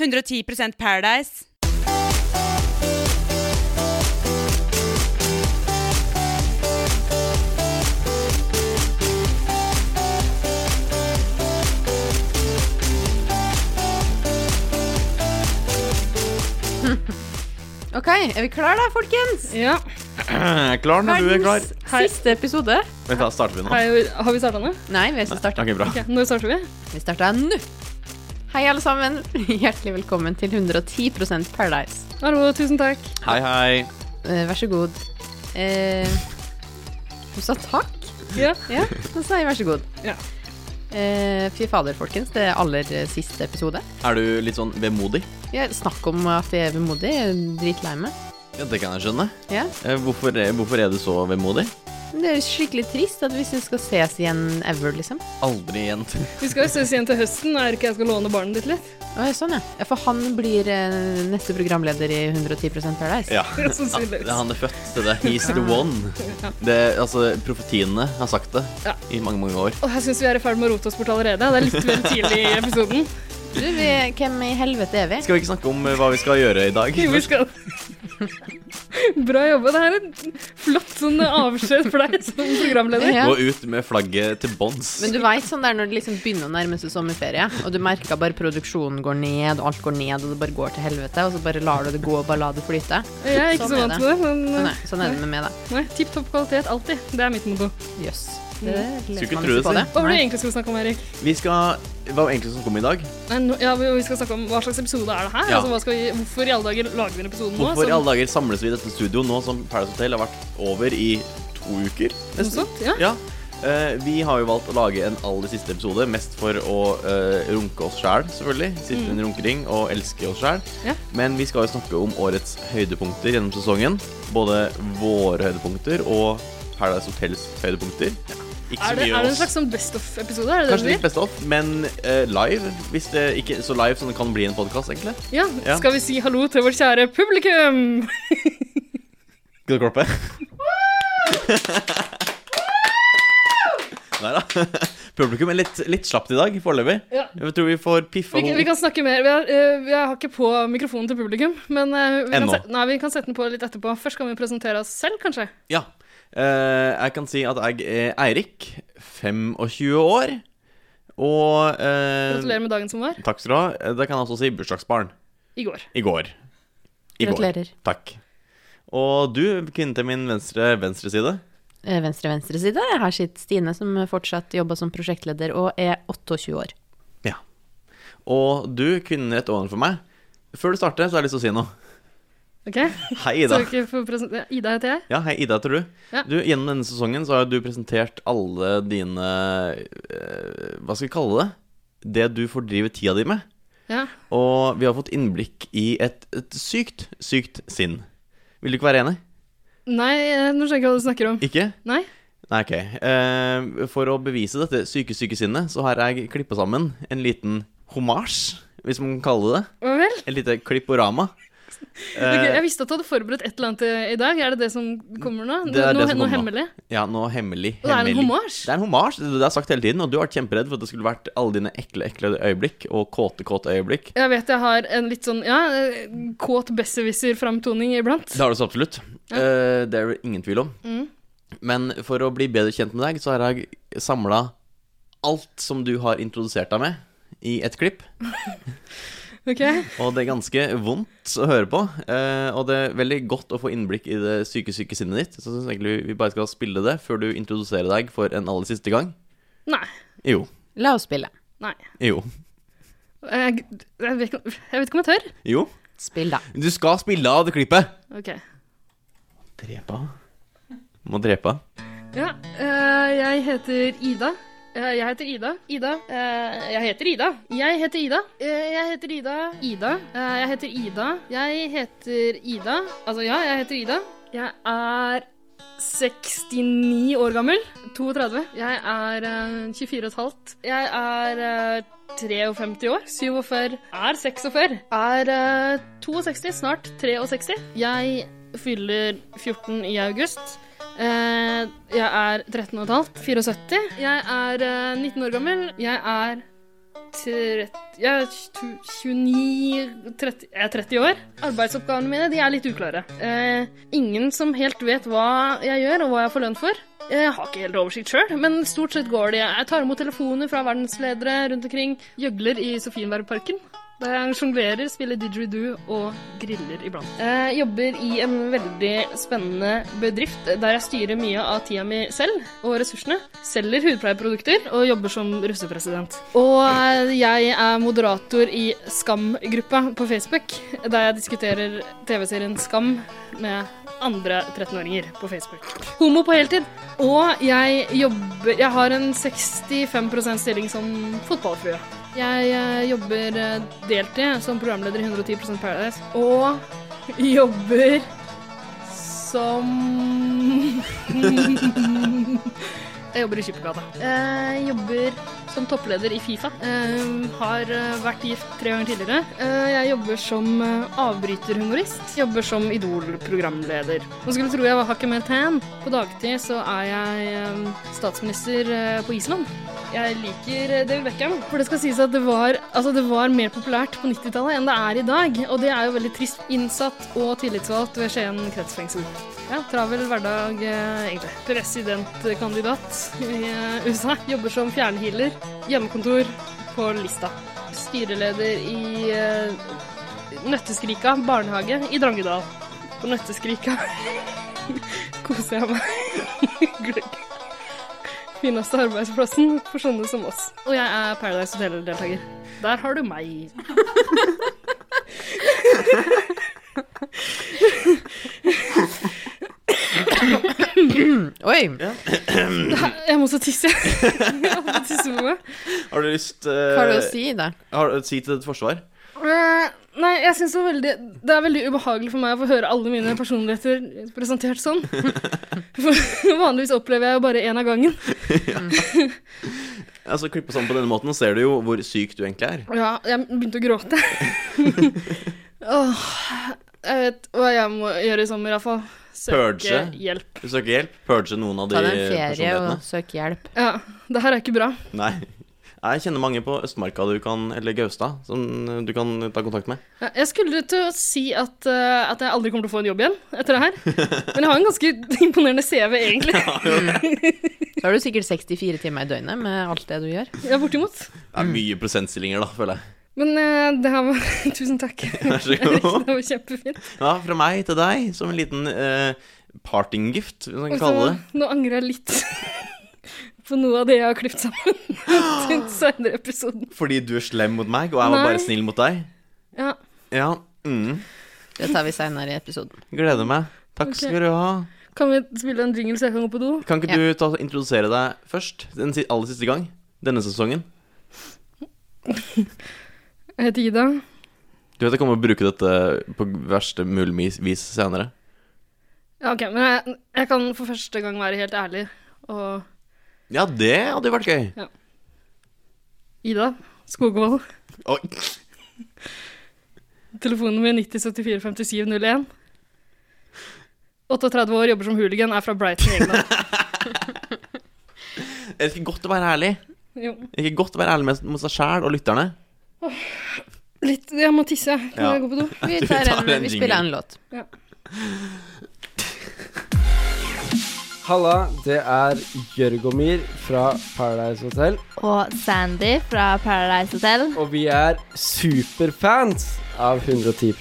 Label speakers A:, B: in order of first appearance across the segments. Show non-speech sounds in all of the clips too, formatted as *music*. A: «110% Paradise».
B: *laughs* OK, er vi klar da, folkens?
C: Ja.
D: *clears throat* Klar når du er klar.
B: Verdens Siste episode.
D: Vent, da starter vi nå.
C: Er, jo- har vi starta nå?
B: Nei, vi har ikke starta.
D: Ok, bra.
C: Ok, Når starter vi?
B: Vi starta nå. Hei, alle sammen. *laughs* Hjertelig velkommen til 110 Paradise.
C: Hallo, tusen takk.
D: Hei, hei.
B: Eh, vær så god. Eh, du sa takk?
C: Ja.
B: Ja, da sa jeg vær så god.
C: Ja.
B: Eh, fy fader, folkens. Det er aller eh, siste episode.
D: Er du litt sånn vemodig?
B: Ja, snakk om at jeg er vemodig. Jeg er dritlei meg.
D: Ja, det kan jeg skjønne.
B: Ja.
D: Eh, Hvorfor, er- hvorfor er du så vemodig?
B: Men Det er jo skikkelig trist at vi ikke skal ses igjen ever, liksom.
D: Aldri igjen.
C: Vi skal jo ses igjen til høsten. Er det ikke jeg skal låne barnet ditt litt?
B: Å, ja, sånn, ja. ja. For han blir eh, neste programleder i 110 Paradise.
D: Ja.
C: Ja,
D: Ja,
C: sannsynligvis.
D: det er han er født til det. He's the one. Det, altså, profetiene har sagt det
C: Ja.
D: i mange, mange år.
C: Og jeg syns vi er i ferd med å rote oss bort allerede. Det er litt vel tidlig i
D: *laughs*
C: episoden.
B: Du, vi, hvem i helvete er vi?
D: Skal vi ikke snakke om eh, hva vi skal gjøre i dag?
C: Jo, vi skal. *laughs* Bra jobba. Det her er en flott sånn avskjed for deg som programleder.
B: Ja.
D: Gå ut med flagget til bånds.
B: Men du veit sånn der når det liksom begynner å nærme seg sommerferie, og du merker bare produksjonen går ned, og alt går ned, og det bare går til helvete, og så bare lar du det gå og bare la det flyte.
C: Jeg er ikke
B: Sånn
C: så
B: er det.
C: vant til det, men eh,
B: Sånn er, sånn er det med meg, da.
C: nei, tipp topp kvalitet alltid. Det er mitt motto.
B: Jøs. Det
D: Skulle
B: leser
D: ikke
B: man
D: tro
B: ikke
D: det,
B: på
D: si.
B: det.
C: Hva var det
B: Nei.
C: vi egentlig skulle snakke om, Erik?
D: Vi skal Hva var egentlig som kom i dag?
C: Nei, nå- ja, vi vi skal snakke om Hva slags episode er det her?
D: Ja.
C: Altså, hva skal vi, hvorfor i alle dager lager vi en episode nå?
D: Hvorfor i
C: som-
D: alle dager samles vi i dette studio nå som Paradise Hotel har vært over i to uker?
C: noe sånt? Ja.
D: Ja. eh, vi har jo valgt å lage en aller siste episode, mest for å eh, runke oss sjæl, selvfølgelig. Sitte i en runkering og elske oss sjæl.
C: Mm. Ja.
D: Men vi skal jo snakke om årets høydepunkter gjennom sesongen. Både våre høydepunkter og Paradise Hotels høydepunkter. Ikke
C: Er
D: så
C: det,
D: mye
C: er det en
D: oss.
C: slags sånn best of-episode? Er det det
D: Kanskje
C: det
D: litt
C: blir?
D: best of, men eh, live. Hvis det ikke så live som det kan bli i en podkast, egentlig.
C: Ja.
D: Ja.
C: Skal vi si hallo til vårt kjære publikum?
D: Skal du klappe? Nei da. Publikum er litt, litt slapt i dag foreløpig.
C: Ja.
D: Jeg tror vi får piffa
C: Vi, kan- vi kan snakke mer. Vi har, eh, vi har ikke på mikrofonen til publikum, men eh, vi kan,
D: Ennå.
C: se- nei, vi kan sette den på litt etterpå. Først kan vi presentere oss selv, kanskje.
D: Ja. Eh, jeg kan si at jeg er Eirik, 25 år, og eh,
C: Gratulerer med dagen som var.
D: Takk skal du ha. Det kan jeg også si bursdagsbarn.
C: I går.
D: I går. I
B: Gratulerer.
D: Går. Takk. Og du, kvinnen til min venstre, venstre side.
B: Eh, Venstre, venstre side. Her sitter Stine, som fortsatt jobber som prosjektleder og er 28 år.
D: Ja. Og du, kvinnen rett ovenfor meg. Før du starter, så har jeg lyst til å si noe.
C: Ok?
D: Hei, *laughs*
C: Så
D: Ida.
C: dere får presentere- Ida heter jeg.
D: Ja, hei, Ida, heter du.
C: Ja.
D: du. Gjennom denne sesongen så har du presentert alle dine eh, Hva skal vi kalle det? Det du fordriver tida di med.
C: Ja.
D: Og vi har fått innblikk i et, et sykt, sykt sinn. Vil du ikke være enig?
C: Nei, eh, nå skjønner jeg ikke hva du snakker om.
D: Ikke?
C: Nei?
D: Nei, ok. Eh, for å bevise dette syke, syke sinnet, så har jeg klippa sammen en liten homasj, hvis man kan kalle det det.
C: Hva vel?
D: Et lite klipporama.
C: *laughs* Ok,
D: Eh,
C: jeg visste at du hadde forberedt et eller annet i- i dag. Er det det som kommer nå?
D: Det er
C: noe,
D: det som
C: noe
D: kommer nå.
C: hemmelig?
D: Eh, ja, noe hemmelig.
C: Og det er en
D: hemmelig.
C: hommage?
D: Det er en hommage, det har jeg sagt hele tiden, og du har vært kjemperedd for at det skulle vært alle dine ekle, ekle øyeblikk, og kåte, kåte øyeblikk.
C: Jeg vet jeg har en litt sånn ja, eh, kåt besserwisser-framtoning iblant.
D: Det har du så absolutt. Eh, det er det ingen tvil om.
C: Mm.
D: Men for å bli bedre kjent med deg, så har jeg samla alt som du har introdusert deg med, i ett klipp.
C: Ok?
D: Og det er ganske vondt å høre på. eh, og det er veldig godt å få innblikk i det syke, syke sinnet ditt. Så jeg syns egentlig vi bare skal spille det før du introduserer deg for en aller siste gang.
C: Nei.
D: Jo.
B: La oss spille.
C: Nei.
D: Jo.
C: Jeg, jeg, vet, ikke- jeg vet ikke om jeg tør.
D: Jo.
B: Spill, da.
D: Du skal spille av det klippet.
C: Ok.
D: Drepa. Må drepe.
C: Ja, eh, jeg heter Ida. Eh, Jeg heter Ida. Ida. Eh, Jeg heter Ida. Jeg heter Ida. Eh, Jeg heter Ida. Ida. Eh, Jeg heter Ida. Jeg heter Ida. Altså, ja, jeg heter Ida. Jeg er 69 år gammel. 32. Jeg er eh, 24 og et halvt. Jeg er eh, 53 år. 47. Er 46. Er eh, 62, snart 63. Jeg fyller 14 i august. Eh, jeg er 13 og et halvt. 74. Jeg er eh, 19 år gammel. Jeg er 30, jeg er tju- 29 30, Jeg er 30 år. Arbeidsoppgavene mine de er litt uklare. Eh, ingen som helt vet hva jeg gjør, og hva jeg får lønn for. Jeg har ikke helt oversikt sjøl, men stort sett går det. Jeg tar imot telefoner fra verdensledere rundt omkring. Gjøgler i Sofienbergparken. Der jeg sjonglerer, spiller didgeridoo og griller iblant. Jeg jobber i en veldig spennende bedrift der jeg styrer mye av tida mi selv og ressursene. Selger hudpleieprodukter og jobber som russepresident. Og eh, jeg er moderator i Skam-gruppa på Facebook, der jeg diskuterer TV-serien Skam med andre 13-åringer på Facebook. Homo på heltid. Og jeg jobber Jeg har en 65 stilling som fotballfrue. Jeg eh, jobber eh, deltid som programleder i 110 Paradise. Og *laughs* jobber som *laughs* Jeg jobber i Skippergata. Jeg Eh, jobber som toppleder i Fifa. Eh, Har eh, vært gift tre ganger tidligere. Eh, Jeg jobber som eh, avbryterhumorist. Jobber som Idol-programleder. Man skulle tro jeg var hakket mer tan. På dagtid så er jeg eh, statsminister eh, på Island. Jeg liker eh, David Beckham. For det skal sies at det var, altså det var mer populært på 90-tallet enn det er i dag. Og det er jo veldig trist. Innsatt og tillitsvalgt ved Skien kretsfengsel. Ja, travel hverdag, eh, egentlig. Presidentkandidat i eh, USA. Jobber som fjernhealer. Hjemmekontor på Lista. Styreleder i eh, Nøtteskrika barnehage i Drangedal. På Nøtteskrika *laughs* koser jeg meg. *laughs* Gløgg. Fineste arbeidsplassen for sånne som oss. Og jeg er Paradise Hotel-deltaker. Der har du meg.
B: Oi!
C: *clears throat* Jeg må så tisse. *laughs* Jeg må så tisse på meg.
D: Har du lyst
B: Hva har du å
D: eh,
B: si der?
D: har du å si til ditt forsvar?
C: Eh, Nei, jeg synes det, var veldig, det er veldig ubehagelig for meg å få høre alle mine personligheter presentert sånn. For *laughs* vanligvis opplever jeg jo bare én av gangen.
D: Altså, Klippa sammen på denne måten ser du jo hvor syk du egentlig er.
C: Og Ja, jeg begynte å *laughs* gråte. Åh, jeg vet hva jeg må gjøre i sommer, iallfall. Søke
D: Purge.
C: hjelp.
D: Du søker hjelp? Purge noen av de
B: Ta deg en ferie
D: personlighetene?
B: og søk hjelp.
C: Ja, det her er ikke bra.
D: Nei. Jeg kjenner mange på Østmarka du kan, eller Gaustad som du kan ta kontakt med.
C: Ja, Jeg skulle til å si at, eh, at jeg aldri kommer til å få en jobb igjen etter det her. Men jeg har en ganske *laughs* imponerende CV, egentlig.
B: Så har du sikkert 64 timer i døgnet med alt det du gjør.
C: Ja, bortimot.
D: Det
B: Mm.
D: er mye prosentstillinger, da, føler jeg.
C: Men eh, det her var *laughs* Tusen takk.
D: Vær så
C: Det
B: *laughs*
D: god.
C: var kjempefint.
D: Ja, fra meg til deg, som en liten eh, partinggift, hvis man kan
C: Og så-
D: kalle det.
C: Nå angrer jeg litt *laughs* på noe av det jeg har klippet sammen *laughs* til senere episoden.
D: Fordi du er slem mot meg, og jeg var
C: Nei.
D: bare snill mot deg.
C: Ja.
D: Ja. Mm.
B: Det tar vi seinere i episoden.
D: Gleder meg. Takk
C: Ok.
D: skal du ha.
C: Kan vi spille en jingle så jeg kan gå på do?
D: Kan ikke
B: Ja.
D: du ta, introdusere deg først? Den si- aller siste gang? Denne sesongen?
C: Jeg heter Ida.
D: Du vet jeg kommer til å bruke dette på verste mulig vis senere.
C: Ja, ok, men jeg, jeg kan for første gang være helt ærlig. Og
D: Ja, det hadde jo vært gøy.
C: Ida Skogvold,
D: Oi.
C: telefonen min 90745701. 38 år, jobber som hooligan, er fra Brighton i England.
D: Er det ikke godt å være ærlig?
C: *laughs* Jo,
D: Er det ikke godt å være ærlig med- mot seg sjæl og lytterne?
C: litt, jeg må tisse. Kan
D: Ja.
C: jeg gå på do?
B: Vi,
D: Du
B: tar
D: tar
B: en,
D: en
B: vi
D: jingle.
B: spiller en låt.
E: Halla, det er Jørgomir fra Paradise Hotel.
F: og Sandy fra Paradise Hotel.
E: Og vi er superfans av 110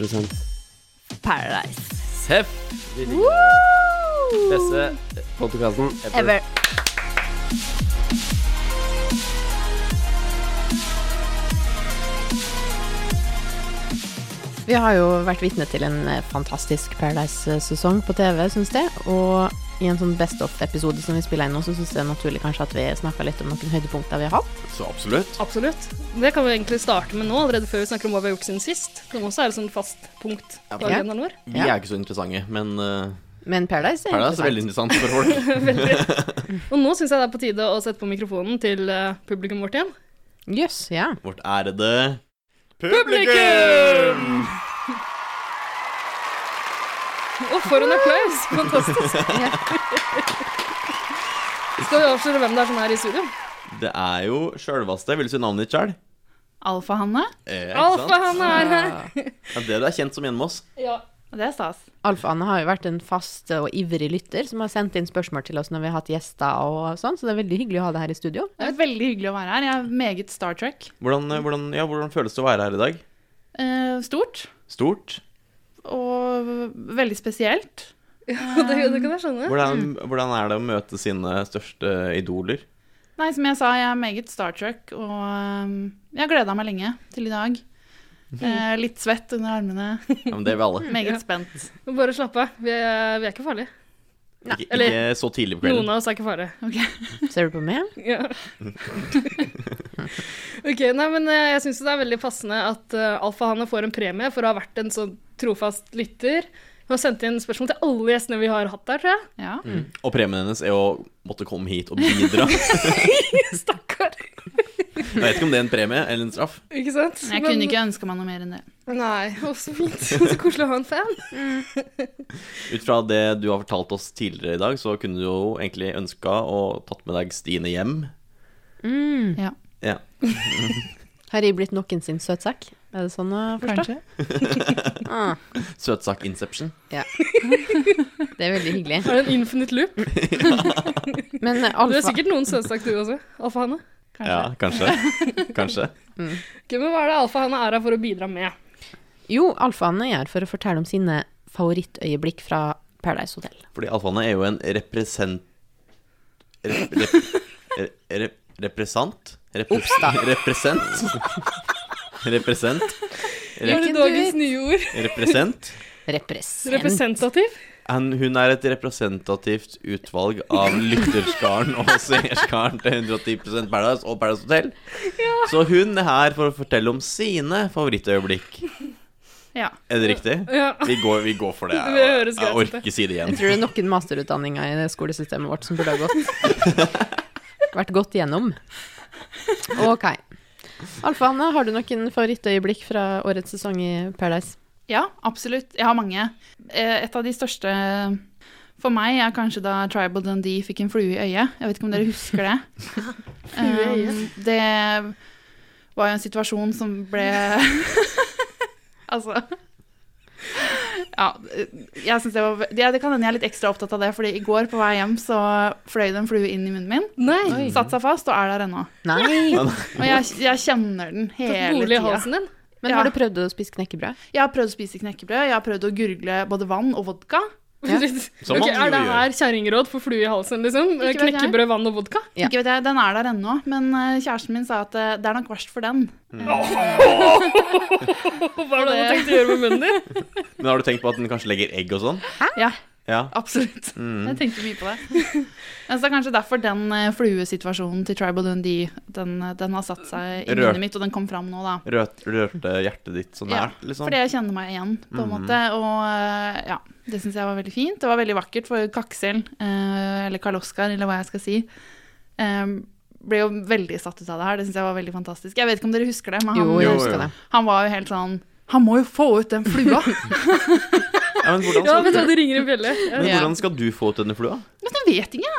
F: Paradise.
E: Seff! Vi liker den beste podkasten ever.
F: Ever.
B: Vi har jo vært vitne til en eh, fantastisk Paradise-sesong på TV, syns jeg. Og i en sånn Best Off-episode som vi spiller inn nå, så syns jeg det er naturlig kanskje at vi snakka litt om noen høydepunkter vi har hatt.
D: Så absolutt.
C: Absolutt. Det kan vi egentlig starte med nå, allerede før vi snakker om hva vi har gjort siden sist. Som også er et sånn fast punkt
D: Ja,
C: på agendaen vår.
D: Vi
B: Ja.
D: er ikke så interessante, men uh,
B: Men Paradise er
D: Paradise er veldig
B: interessant.
D: interessant for folk.
B: *laughs*
C: Og nå syns jeg det er på tide å sette på mikrofonen til eh, publikum vårt igjen.
B: Jøss, ja.
D: Vårt ærede publikum!
C: Å, for en *laughs* applaus! Fantastisk. Skal vi avsløre hvem det er som er i studio?
D: Det er jo sjølvaste. Vil du si navnet ditt sjøl?
F: Alfa-Hanne.
D: Eh, ikke
C: Alfa,
D: sant?
C: han er her.
D: Ja, det du er kjent som hjemme hos oss.
C: Ja.
F: Det er stas.
B: Alf-Anne har jo vært en fast og ivrig lytter som har sendt inn spørsmål til oss når vi har hatt gjester og sånn, så det er veldig hyggelig å ha det her i studio.
G: Det er veldig hyggelig å være her. Jeg er meget Star Trek.
D: Hvordan, eh, hvordan, ja, hvordan føles det å være her i dag?
G: Eh, stort
D: Stort?
G: og veldig spesielt.
C: *laughs* Det, det kan jeg skjønne.
D: Hvordan, hvordan er det å møte sine største idoler?
G: Nei, som jeg sa, jeg er meget Star Trek, og eh, jeg har gleda meg lenge til i dag. Eh, litt svett under armene.
D: Ja, men det er vi alle.
G: Meget spent.
C: Bare slapp av. Vi er, vi er ikke farlige.
D: Ikke,
C: Eller-
D: ikke så tidlig på
C: Noen
D: kvelden.
C: av oss er ikke farlige.
B: Ser du på meg?
C: Ja. ok, nei, men eh, jeg syns det er veldig passende at eh, Alfa Hanne får en premie for å ha vært en sånn trofast lytter. Hun har sendt inn spørsmål til alle gjestene vi har hatt der, tror jeg. *laughs*
G: Ja.
D: Og premien hennes er å måtte komme hit og bidra. Jeg
C: Stakkar.
D: vet ikke om det er en premie eller en straff.
C: Ikke sant?
G: Men Jeg kunne ikke ønska meg noe mer enn det.
C: Nei, å, så fint. *laughs* Så koselig å ha en fan.
D: Ut fra det du har fortalt oss tidligere i dag, så kunne du jo egentlig ønska å tatt med deg Stine hjem.
G: Ja,
D: Ja.
B: Har jeg blitt noen sin søtsekk? Er det sånn å forstå?
G: kanskje.
B: Ah,
D: Søtsak Inception.
B: det er veldig hyggelig.
C: *laughs* Er det en infinite loop?
B: Men eh,
C: Du
B: Alfa,
C: er sikkert noen søtsak, du også. Alfa Hanne.
G: kanskje.
D: Ja, kanskje. Kanskje.
C: Ok, men hva er det Alfa Hanne er her for å bidra med?
B: jo, Alfa-Anne er her for å fortelle om sine favorittøyeblikk fra Paradise Hotel.
D: Fordi alfaene er jo en represent... Rep, rep, re- re, represent? Represent? Represent? Represent?
C: Gjør
D: Rep,
C: det dagens nye ord.
D: represent?
B: Represent.
C: Representativ.
D: Han, hun er et representativt utvalg av lytterskaren og seerskaren til 110 Paradise og Paradise Hotel. Så hun er her for å fortelle om sine favorittøyeblikk.
G: Ja.
D: Er det riktig?
C: Ja.
D: Vi går, vi går for det.
C: *laughs* Det høres
D: Jeg, jeg
C: greit ut, det.
D: orker ikke si det igjen.
B: Jeg tror det er noen masterutdanninger i det skolesystemet vårt som burde ha gått *laughs* vært gått gjennom. Ok. Alfa-Anne, har du noen favorittøyeblikk fra årets sesong i Paradise?
G: Ja, absolutt. Jeg har mange. Eh, Et av de største for meg er kanskje da Tribal Dundee fikk en flue i øyet. Jeg vet ikke om dere husker
C: *laughs*
G: det. Um, det var jo en situasjon som ble *laughs* Altså Ja, jeg synes det var ve- ja, Det kan hende jeg er litt ekstra opptatt av det, fordi i går på vei hjem så fløy det en flue inn i munnen min.
C: Mhm. Nei.
G: Satt seg fast og er der ennå.
B: Nei!
G: Og jeg, jeg kjenner den
C: Tatt
G: hele
C: bolig i
G: tida.
C: halsen din.
B: Men har du prøvd å spise knekkebrød?
G: Jeg har prøvd å spise knekkebrød, jeg har prøvd å gurgle både vann og vodka.
B: Ja.
D: Som
C: Ok,
D: man jo
C: er det
D: gjør.
C: her kjerringråd for flue i halsen, liksom?
G: vet jeg.
C: Knekkebrød, vann og vodka?
B: Ja.
G: Ikke vet jeg, Den er der ennå, men eh, kjæresten min sa at eh, det er nok verst for den. *laughs*
C: Hva er det du tenkte å gjøre med munnen din?
D: Men har du tenkt på at den kanskje legger egg og sånn?
G: Ja,
D: Ja.
G: absolutt. Jeg tenkte mye på det. *laughs* Men så det er kanskje derfor den eh, fluesituasjonen til Tribal Dundee den, eh, den har satt seg i
D: Rørt.
G: minnet mitt, og den kom fram nå, da.
D: Rørt, rørte hjertet ditt så
G: Ja,
D: nært, liksom?
G: Fordi jeg kjenner meg igjen, på en måte. Og eh, ja, det syns jeg var veldig fint. Det var veldig vakkert for Kaksel, eh, eller Karl Oskar, eller hva jeg skal si. eh, Ble jo veldig satt ut av det her. Det syns jeg var veldig fantastisk. Jeg vet ikke om dere husker det, men han,
B: Jo,
D: Jo,
B: jeg
D: jo.
B: husker det.
G: han var jo helt sånn Han må jo få ut den flua!
D: Ja, men hvordan
C: *laughs* Ja,
D: skal,
C: vet du hva, det ringer en bjelle. Ja.
D: *laughs* men hvordan skal du få ut denne flua?
G: men jeg vet ikke,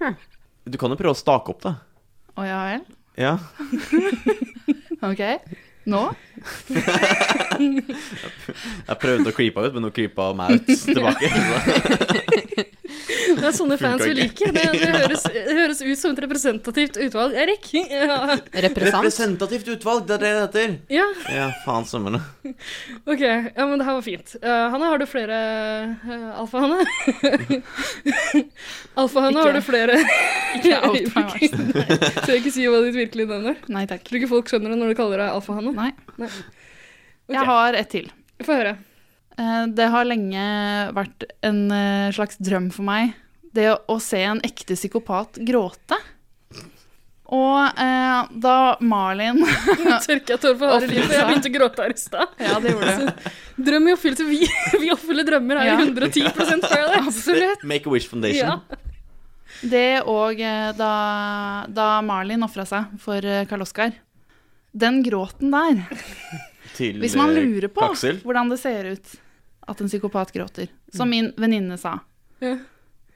G: jeg.
D: Du kan jo prøve å stake opp, da.
G: Å ja vel.
D: Ja.
G: Ok. Nå?
D: Jeg prøvde å creepe henne ut, men hun creepa
C: *laughs*
D: meg ut tilbake.
C: Det er sånne fans
D: Funker
C: vi liker. Det, det, høres, det høres ut som et representativt utvalg. Erik? *laughs* Ja.
B: Represent.
D: Representativt utvalg, det er det det heter.
C: ja.
D: Ja, faen
G: *laughs*
D: sømmene.
C: Ok, ja, men det her var fint. Eh, Hanne, har du flere eh, *laughs* Alfa-Hanne? Alfa-Hanne, har du *laughs* flere
G: Ikke out
C: *laughs*
G: my worst.
C: Skal jeg ikke si hva ditt virkelige navn er?
G: Nei
C: *laughs*
G: takk.
C: Tror du ikke folk skjønner det når du kaller deg Alfa-Hanne?
G: Nei.
C: Nei.
G: Jeg har et til.
C: Få høre.
G: Eh, Eh, Det har lenge vært en eh, slags drøm for meg, det å- å se en ekte psykopat gråte. Og eh, da Malin *laughs*
C: Nå *laughs* tørker jeg tårer på harde livet, for jeg
G: Offentlig.
C: begynte å gråte her i stad.
G: *laughs* Ja, det gjorde du.
C: *laughs* Drøm i oppfyllelse. Vi, *laughs* vi oppfyller drømmer her
G: Ja.
C: i 110 Paradise.
G: *laughs* Absolutt.
D: Make a Wish Foundation.
C: Ja.
G: Det og eh, da, da Malin ofra seg for eh, Karl Oskar. Den gråten der,
D: Til
G: hvis man
D: eh,
G: lurer på
D: Kaksel.
G: hvordan det ser ut at en psykopat gråter, som min venninne sa.
C: Ja.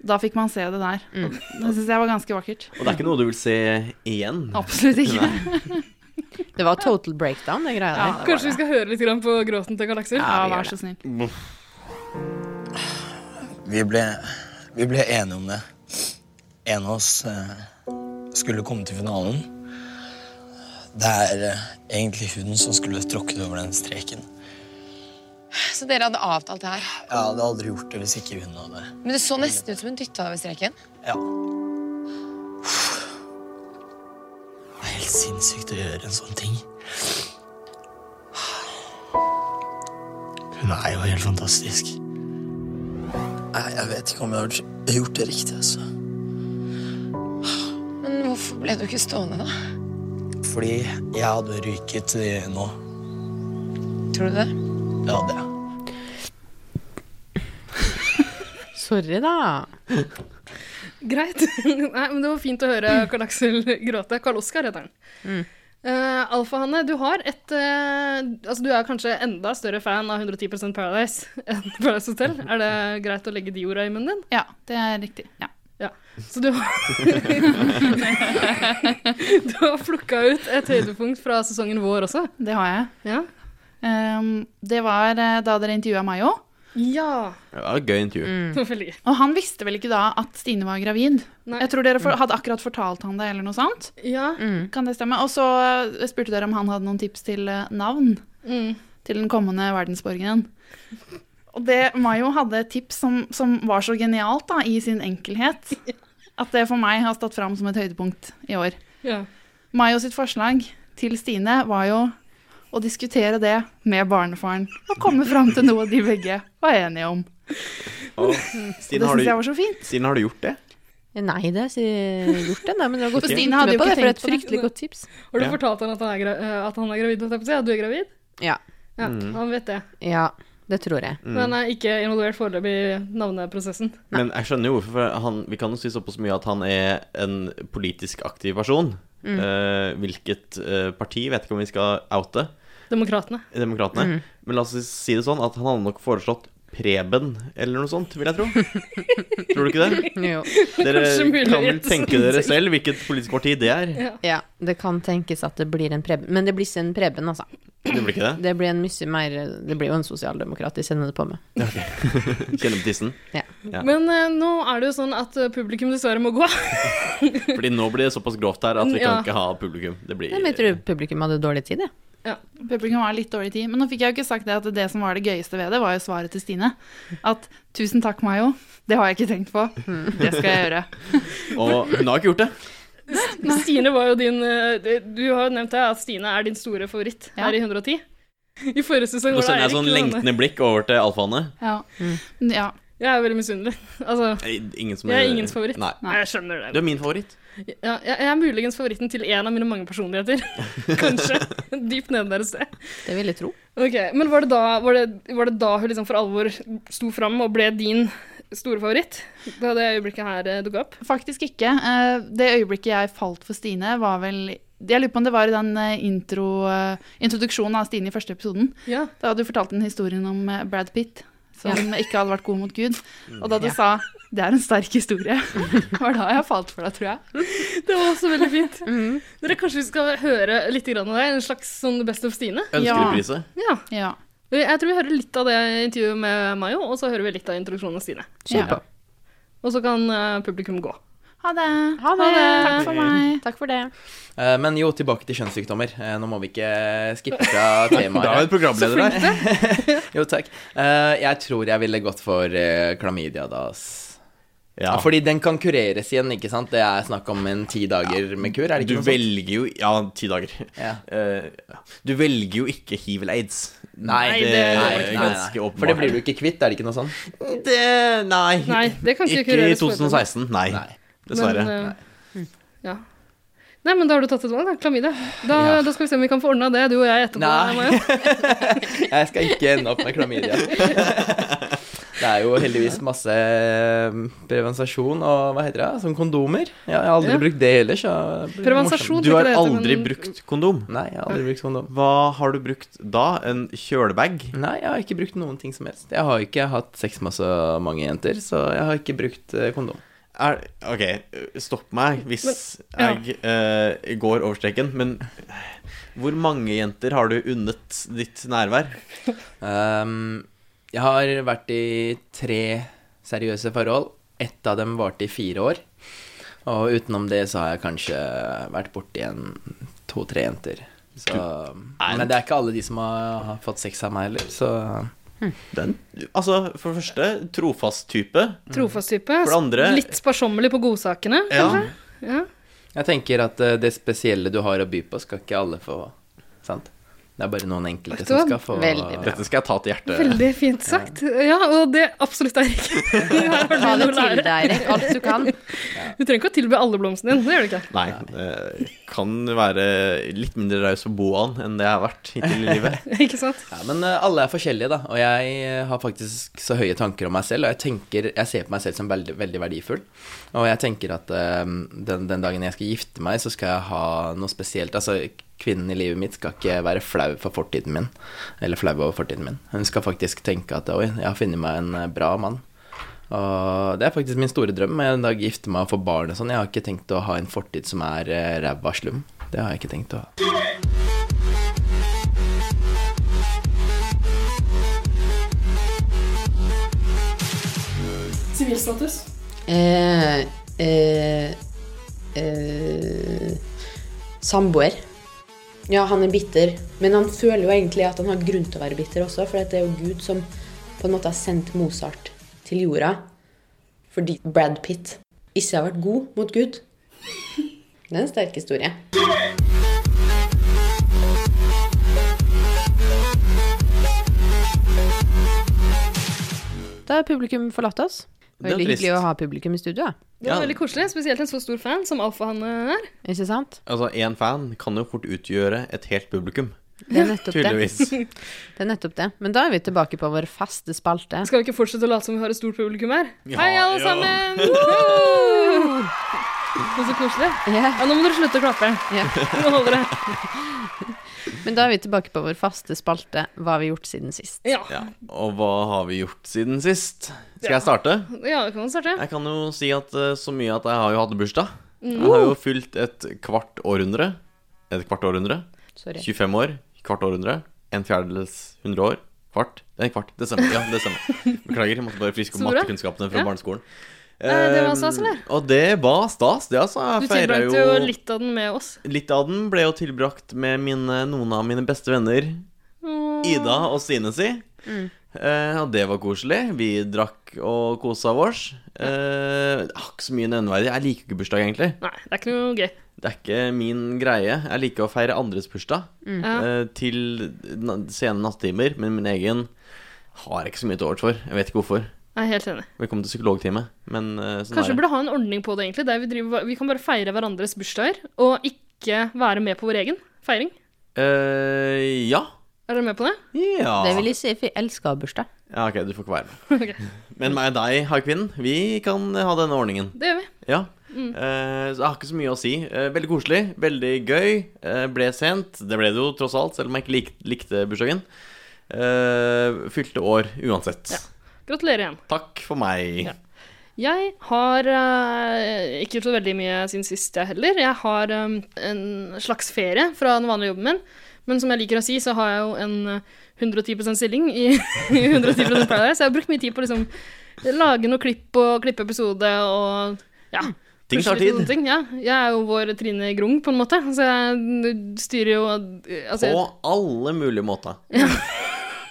G: Da fikk man se det der.
B: Mm.
G: Det syns jeg var ganske vakkert.
D: Og det er ikke noe du vil se igjen.
G: Absolutt ikke.
D: Nei.
B: Det var total breakdown, det greia
G: Ja,
B: der.
C: Kanskje vi skal høre litt grann på gråten til Galaxer?
G: Ja,
B: vi gjør
G: vær så snill.
H: Vi ble, vi ble enige om det. En av oss eh, skulle komme til finalen. Det er eh, egentlig hun som skulle tråkket over den streken.
I: Så dere hadde avtalt det her.
H: Jeg hadde aldri gjort det hvis ikke hun hadde.
I: Men det så nesten ut som hun dytta deg over streken.
H: Ja. Det er helt sinnssykt å gjøre en sånn ting. Hun er jo helt fantastisk. Nei, jeg vet ikke om jeg har gjort det riktig, altså.
I: Men hvorfor ble du ikke stående, da?
H: Fordi jeg hadde ryket eh, nå.
I: Tror du det?
H: Ja, det.
B: Sorry, da.
C: Greit. *laughs* Nei, men Det var fint å høre Karl Aksel gråte. Karl Oskar heter han.
G: Mm.
C: Eh, Alfa-Hanne, du har et eh, Altså, du er kanskje enda større fan av 110 Paradise enn Paradise Hotel. Er det greit å legge de orda i munnen din?
G: Ja, det er riktig. Ja.
C: Så du har *laughs* Du har plukka ut et høydepunkt fra sesongen vår også.
G: Det har jeg.
C: Ja.
G: Ehm, det var eh, da dere intervjua meg òg.
C: ja.
D: Det var et gøy intervju.
G: Mm.
C: Det var veldig gøy.
G: Og han visste vel ikke da at Stine var gravid?
C: Nei.
G: Jeg tror dere for, hadde akkurat fortalt han det, eller noe sånt.
C: Ja.
G: Kan det stemme? Og så eh, spurte dere om han hadde noen tips til eh, navn
C: Mm.
G: til den kommende verdensborgeren. Og det Mayo hadde et tips som, som var så genialt da, i sin *laughs* enkelhet, at det for meg har stått fram som et høydepunkt i år.
C: ja.
G: Mayo sitt forslag til Stine var jo å diskutere det med barnefaren og komme fram til noe de begge var enige om.
D: Og,
G: *laughs* Det
D: Stine, har
G: syns jeg
D: du,
G: var så fint.
D: Stine, har du gjort det?
B: Nei, det har jeg gjort det. Nei, men det var godt
G: For
B: å
G: Stine hadde
B: tenke
G: jo
B: på
G: ikke
B: det, for et
G: tenkt på det.
B: fryktelig godt tips.
C: Har du
D: Ja.
C: fortalt han at han er, gra eh, at han er gravid? holdt jeg på å si? Ja, du er gravid?
B: Ja.
C: Ja,
D: Mm.
C: Han vet det.
B: Ja, det tror jeg.
C: Men han er ikke involvert foreløpig i navneprosessen.
D: Men jeg skjønner jo hvorfor for han, Vi kan jo si såpass mye at han er en politisk aktiv person.
G: Mm.
D: Eh, hvilket eh, parti vet ikke om vi skal oute.
C: Demokratene.
D: Demokratene.
G: Mm.
D: Men la oss si det sånn at han hadde nok foreslått Preben eller noe sånt, vil jeg
G: *laughs*
D: tro. tror du ikke det?
B: Jo.
D: Dere
C: Kanskje mulig
D: kan vel
C: rett
D: tenke
C: sånn
D: dere
C: til.
D: selv hvilket politisk parti det er.
B: Ja, det kan tenkes at det blir en Preben. Men det blir ikke en Preben, altså.
D: Det blir ikke det?
B: Det blir en mye mer Det blir jo en sosialdemokrat de sender det på med.
D: Kjenner på tissen. Ja.
C: Men eh, nå er det jo sånn at eh, publikum dessverre må gå. *laughs*
D: Fordi nå blir det såpass grovt her at vi kan
C: Ja.
D: ikke ha publikum. Det blir
B: Nei, men jeg tror publikum hadde dårlig tid, jeg.
G: Publikum var litt dårlig tid. Men nå fikk jeg jo ikke sagt det at det som var det gøyeste ved det, var jo svaret til Stine. At 'tusen takk, Mayo, det har jeg ikke tenkt på'. Mm, Det skal jeg gjøre.
D: Og hun har ikke
C: *laughs*
D: gjort det.
C: Stine var jo din eh, Du har jo nevnt det, at Stine er din store favoritt
G: Ja.
C: her i 110. I forrige sesong
D: Nå
C: var det
D: sender jeg
C: Eirik.
D: sånn
C: Lange.
D: lengtende blikk over til alfaene.
G: *laughs* Ja. Mm. ja.
C: Jeg er veldig misunnelig. *laughs* Altså,
D: Ingen som
C: jeg er ingens favoritt.
D: Nei.
G: Nei.
C: Jeg skjønner
D: Du
C: det.
D: er min favoritt.
C: Ja, jeg jeg er muligens favoritten til en av mine mange personligheter. Kanskje. Dypt nede der et sted.
B: Det vil jeg tro.
C: Ok, Men var det da, var det, var det da hun liksom for alvor sto fram og ble din store favoritt? Da det øyeblikket her eh, dukket opp?
G: Faktisk ikke. Eh, Det øyeblikket jeg falt for Stine, var vel Jeg lurer på om det var i den eh, intro, eh, introduksjonen av Stine i første episoden.
C: Ja.
G: Da hadde du fortalt den historien om eh, Brad Pitt, som ikke hadde vært god mot Gud. Og da du sa 'det er en sterk
B: *laughs*
G: historie', *laughs* var da jeg falt for deg, tror jeg.
C: Det var også veldig *laughs* fint. Dere, Kanskje vi skal høre litt grann av det? En slags sånn Best of Stine?
D: Ønskereprise.
C: Ja.
G: Ja.
C: Jeg tror vi hører litt av det intervjuet med Mayo, og så hører vi litt av introduksjonen av Stine.
B: Kjør på.
C: Og så kan eh, publikum gå.
G: Ha det.
B: Ha det.
G: Takk for meg.
B: Takk for det.
E: Eh, Men jo, tilbake til kjønnssykdommer. Eh, Nå må vi ikke skippe
F: *laughs*
E: fra temaet.
D: Bra
E: her.
D: med programleder der.
E: Jo, takk. Eh, jeg tror jeg ville gått for eh, klamydia, da. ass.
D: Ja.
E: Ja. Fordi den kan kureres igjen, ikke sant? Det er snakk om en ti dager med kur, er det
D: Du
E: ikke noe sånt?
D: velger jo Ja, ti dager.
E: Ja.
D: Eh, ja. du velger jo ikke hiv eller aids.
E: Nei,
D: det,
E: det-
D: er
E: nei, nei, nei.
D: ganske åpenbart.
E: For det blir du ikke kvitt, er det ikke noe sånn?
D: Det Nei.
C: Nei, det kan ikke
D: ikke i
C: kureres på
D: 2016. Nei. Dessverre.
C: Men, eh,
B: Mm.
C: ja. Nei, men da har du tatt et valg, da. Klamydia. Da,
E: Ja.
C: da skal vi se om vi kan få ordna det, du og jeg etterpå.
E: Nei.
C: Maja.
E: Jeg skal ikke ende opp med klamydia. Det er jo heldigvis masse prevensasjon og hva heter det, sånn kondomer. Jeg har aldri
C: Ja.
E: brukt det heller, så
C: Prevensasjon,
D: Du
C: tror
D: har
C: jeg ikke
D: aldri
C: det heter, men-
D: brukt kondom?
E: Nei, jeg har aldri brukt kondom.
D: Hva har du brukt da? En kjølebag?
E: Nei, jeg har ikke brukt noen ting som helst. Jeg har ikke hatt sex med så mange jenter, så jeg har ikke brukt eh, kondom.
D: Er, ok, stopp meg hvis
E: Men-
D: jeg eh, går over streken, men hvor mange jenter har du unnet ditt nærvær?
E: Um, jeg har vært i tre seriøse forhold. Ett av dem varte i fire år. Og utenom det så har jeg kanskje vært borti en to-tre jenter. Så, men det er ikke alle de som har, har fått sex av meg heller, så
D: Den, altså, for det første, trofast type.
C: Trofast type.
D: For det andre-
C: Litt sparsommelig på godsakene,
D: Ja.
C: kanskje. Ja.
E: Jeg tenker at eh, det spesielle du har å by på, skal ikke alle få. Sant? Det er bare noen
C: Vet
E: enkelte
C: du hva?
E: som skal få
C: Veldig bra.
D: Dette skal jeg ta til hjertet.
C: Veldig fint sagt. Ja, og det absolutt er ikke
D: *laughs*
B: Ta det til deg, Erik, alt du kan.
C: *laughs* Du trenger ikke å tilby alle blomstene dine, det gjør du ikke. *laughs*
D: Nei. eh, kan være litt mindre raus på Boan enn det jeg har vært hittil i livet.
C: Ikke sant?
E: Ja, men eh, alle er forskjellige, da. Og jeg eh, har faktisk så høye tanker om meg selv. Og jeg tenker, jeg ser på meg selv som veldig, veldig verdifull. Og jeg tenker at eh, den, den dagen jeg skal gifte meg, så skal jeg ha noe spesielt. Altså, kvinnen i livet mitt skal ikke være flau for fortiden min. Eller flau over fortiden min. Hun skal faktisk tenke at oi, jeg har funnet meg en eh, bra mann. Og det er faktisk min store drøm. Jeg en dag gifte meg og få barn og sånn. Jeg har ikke tenkt å ha en fortid som er eh, ræva slum. Det har jeg ikke tenkt å ha.
J: Sivilstatus.
I: Eh, eh, eh, samboer. Ja, han er bitter, men han føler jo egentlig at han har grunn til å være bitter også, for det er jo Gud som på en måte har sendt Mozart til jorda fordi Brad Pitt ikke har vært god mot Gud. Det er en sterk historie.
B: Da har publikum forlatt oss. Det var veldig
C: Det var
B: hyggelig
D: trist.
B: å ha publikum i studio. da.
C: *laughs* Det var veldig koselig, spesielt en så stor fan som alfahanne er.
B: Ikke sant?
D: Altså, én fan kan jo fort utgjøre et helt publikum.
B: Det er nettopp
D: Tydeligvis.
B: det. Det er nettopp det. Men da er vi tilbake på vår faste spalte.
C: Skal vi ikke fortsette å late som vi har et stort publikum her?
B: Ja,
C: Hei, alle
B: ja.
C: sammen! Woo! Og så koselig. Ja, nå må dere slutte å klappe. Nå holder det.
B: Men da er vi tilbake på vår faste spalte Hva har vi gjort siden sist?
D: Ja, og hva har vi gjort siden sist? Skal
C: Ja.
D: jeg starte?
C: Ja, vi kan starte.
D: Jeg kan jo si at eh, så mye at jeg har jo hatt bursdag.
C: Mm.
D: Jeg har jo fylt et kvart århundre. Et kvart århundre.
B: Sorry.
D: 25 år, kvart århundre. En fjerdedels 100 år. Kvart. Det er en kvart. Det stemmer. Ja, det stemmer. Beklager, jeg måtte bare friske opp
C: Så bra.
D: mattekunnskapene fra
C: Ja.
D: barneskolen.
C: Eh, det var
D: Eh,
C: stas, eller?
D: Og det var stas, det, altså.
C: Du
D: Jeg feira
C: tilbrakte
D: jo
C: jo litt av den med oss.
D: Litt av den ble jo tilbrakt med mine, noen av mine beste venner,
C: Åh.
D: Ida og Stine si.
C: Mm.
D: Eh, og det var koselig. Vi drakk og kosa vårs. Eh, det er ikke så mye nevneverdig. Jeg liker ikke bursdag, egentlig.
C: Nei, det er ikke noe gøy.
D: Det er ikke min greie. Jeg liker å feire andres bursdag
C: Mm. Ja.
D: eh, til na- sene nattimer, men min egen har jeg ikke så mye til overs for. Jeg vet ikke hvorfor.
C: Jeg er helt enig.
D: Velkommen til psykologtime. Men eh, sånn
C: Kanskje vi
D: er det.
C: burde ha en ordning på det, egentlig. Der vi, driver, vi kan bare feire hverandres bursdager, og ikke være med på vår egen feiring.
D: Eh, ja.
C: Er dere med på det?
D: Ja.
B: Det vil jeg si, for jeg elsker bursdag.
D: ja. Ok, du får ikke være med.
C: *laughs* Ok,
D: Men meg og deg, haikvinnen, vi kan ha denne ordningen.
C: Det gjør vi.
D: Ja.
C: Mm.
D: Eh, så jeg har ikke så mye å si. Eh, veldig koselig, veldig gøy. Eh, ble sent. Det ble det jo tross alt, selv om jeg ikke lik likte bursdagen. Eh, fylte år uansett.
C: Gratulerer igjen.
D: Takk for meg.
C: Ja. Jeg har eh, ikke så veldig mye siden sist, jeg heller. Jeg har eh, en slags ferie fra den vanlige jobben min. Men som jeg liker å si, så har jeg jo en eh, 110 stilling i, *laughs* i 110 Paradise. Jeg har brukt mye tid på å liksom lage noe klipp og klippe episode og ja.
D: Mm. Ting tar
C: plutselig litt
D: tid.
C: sånne Ting, ja. Jeg er jo vår Trine Grung, på en måte. Så jeg styrer jo altså,
D: På alle mulige måter.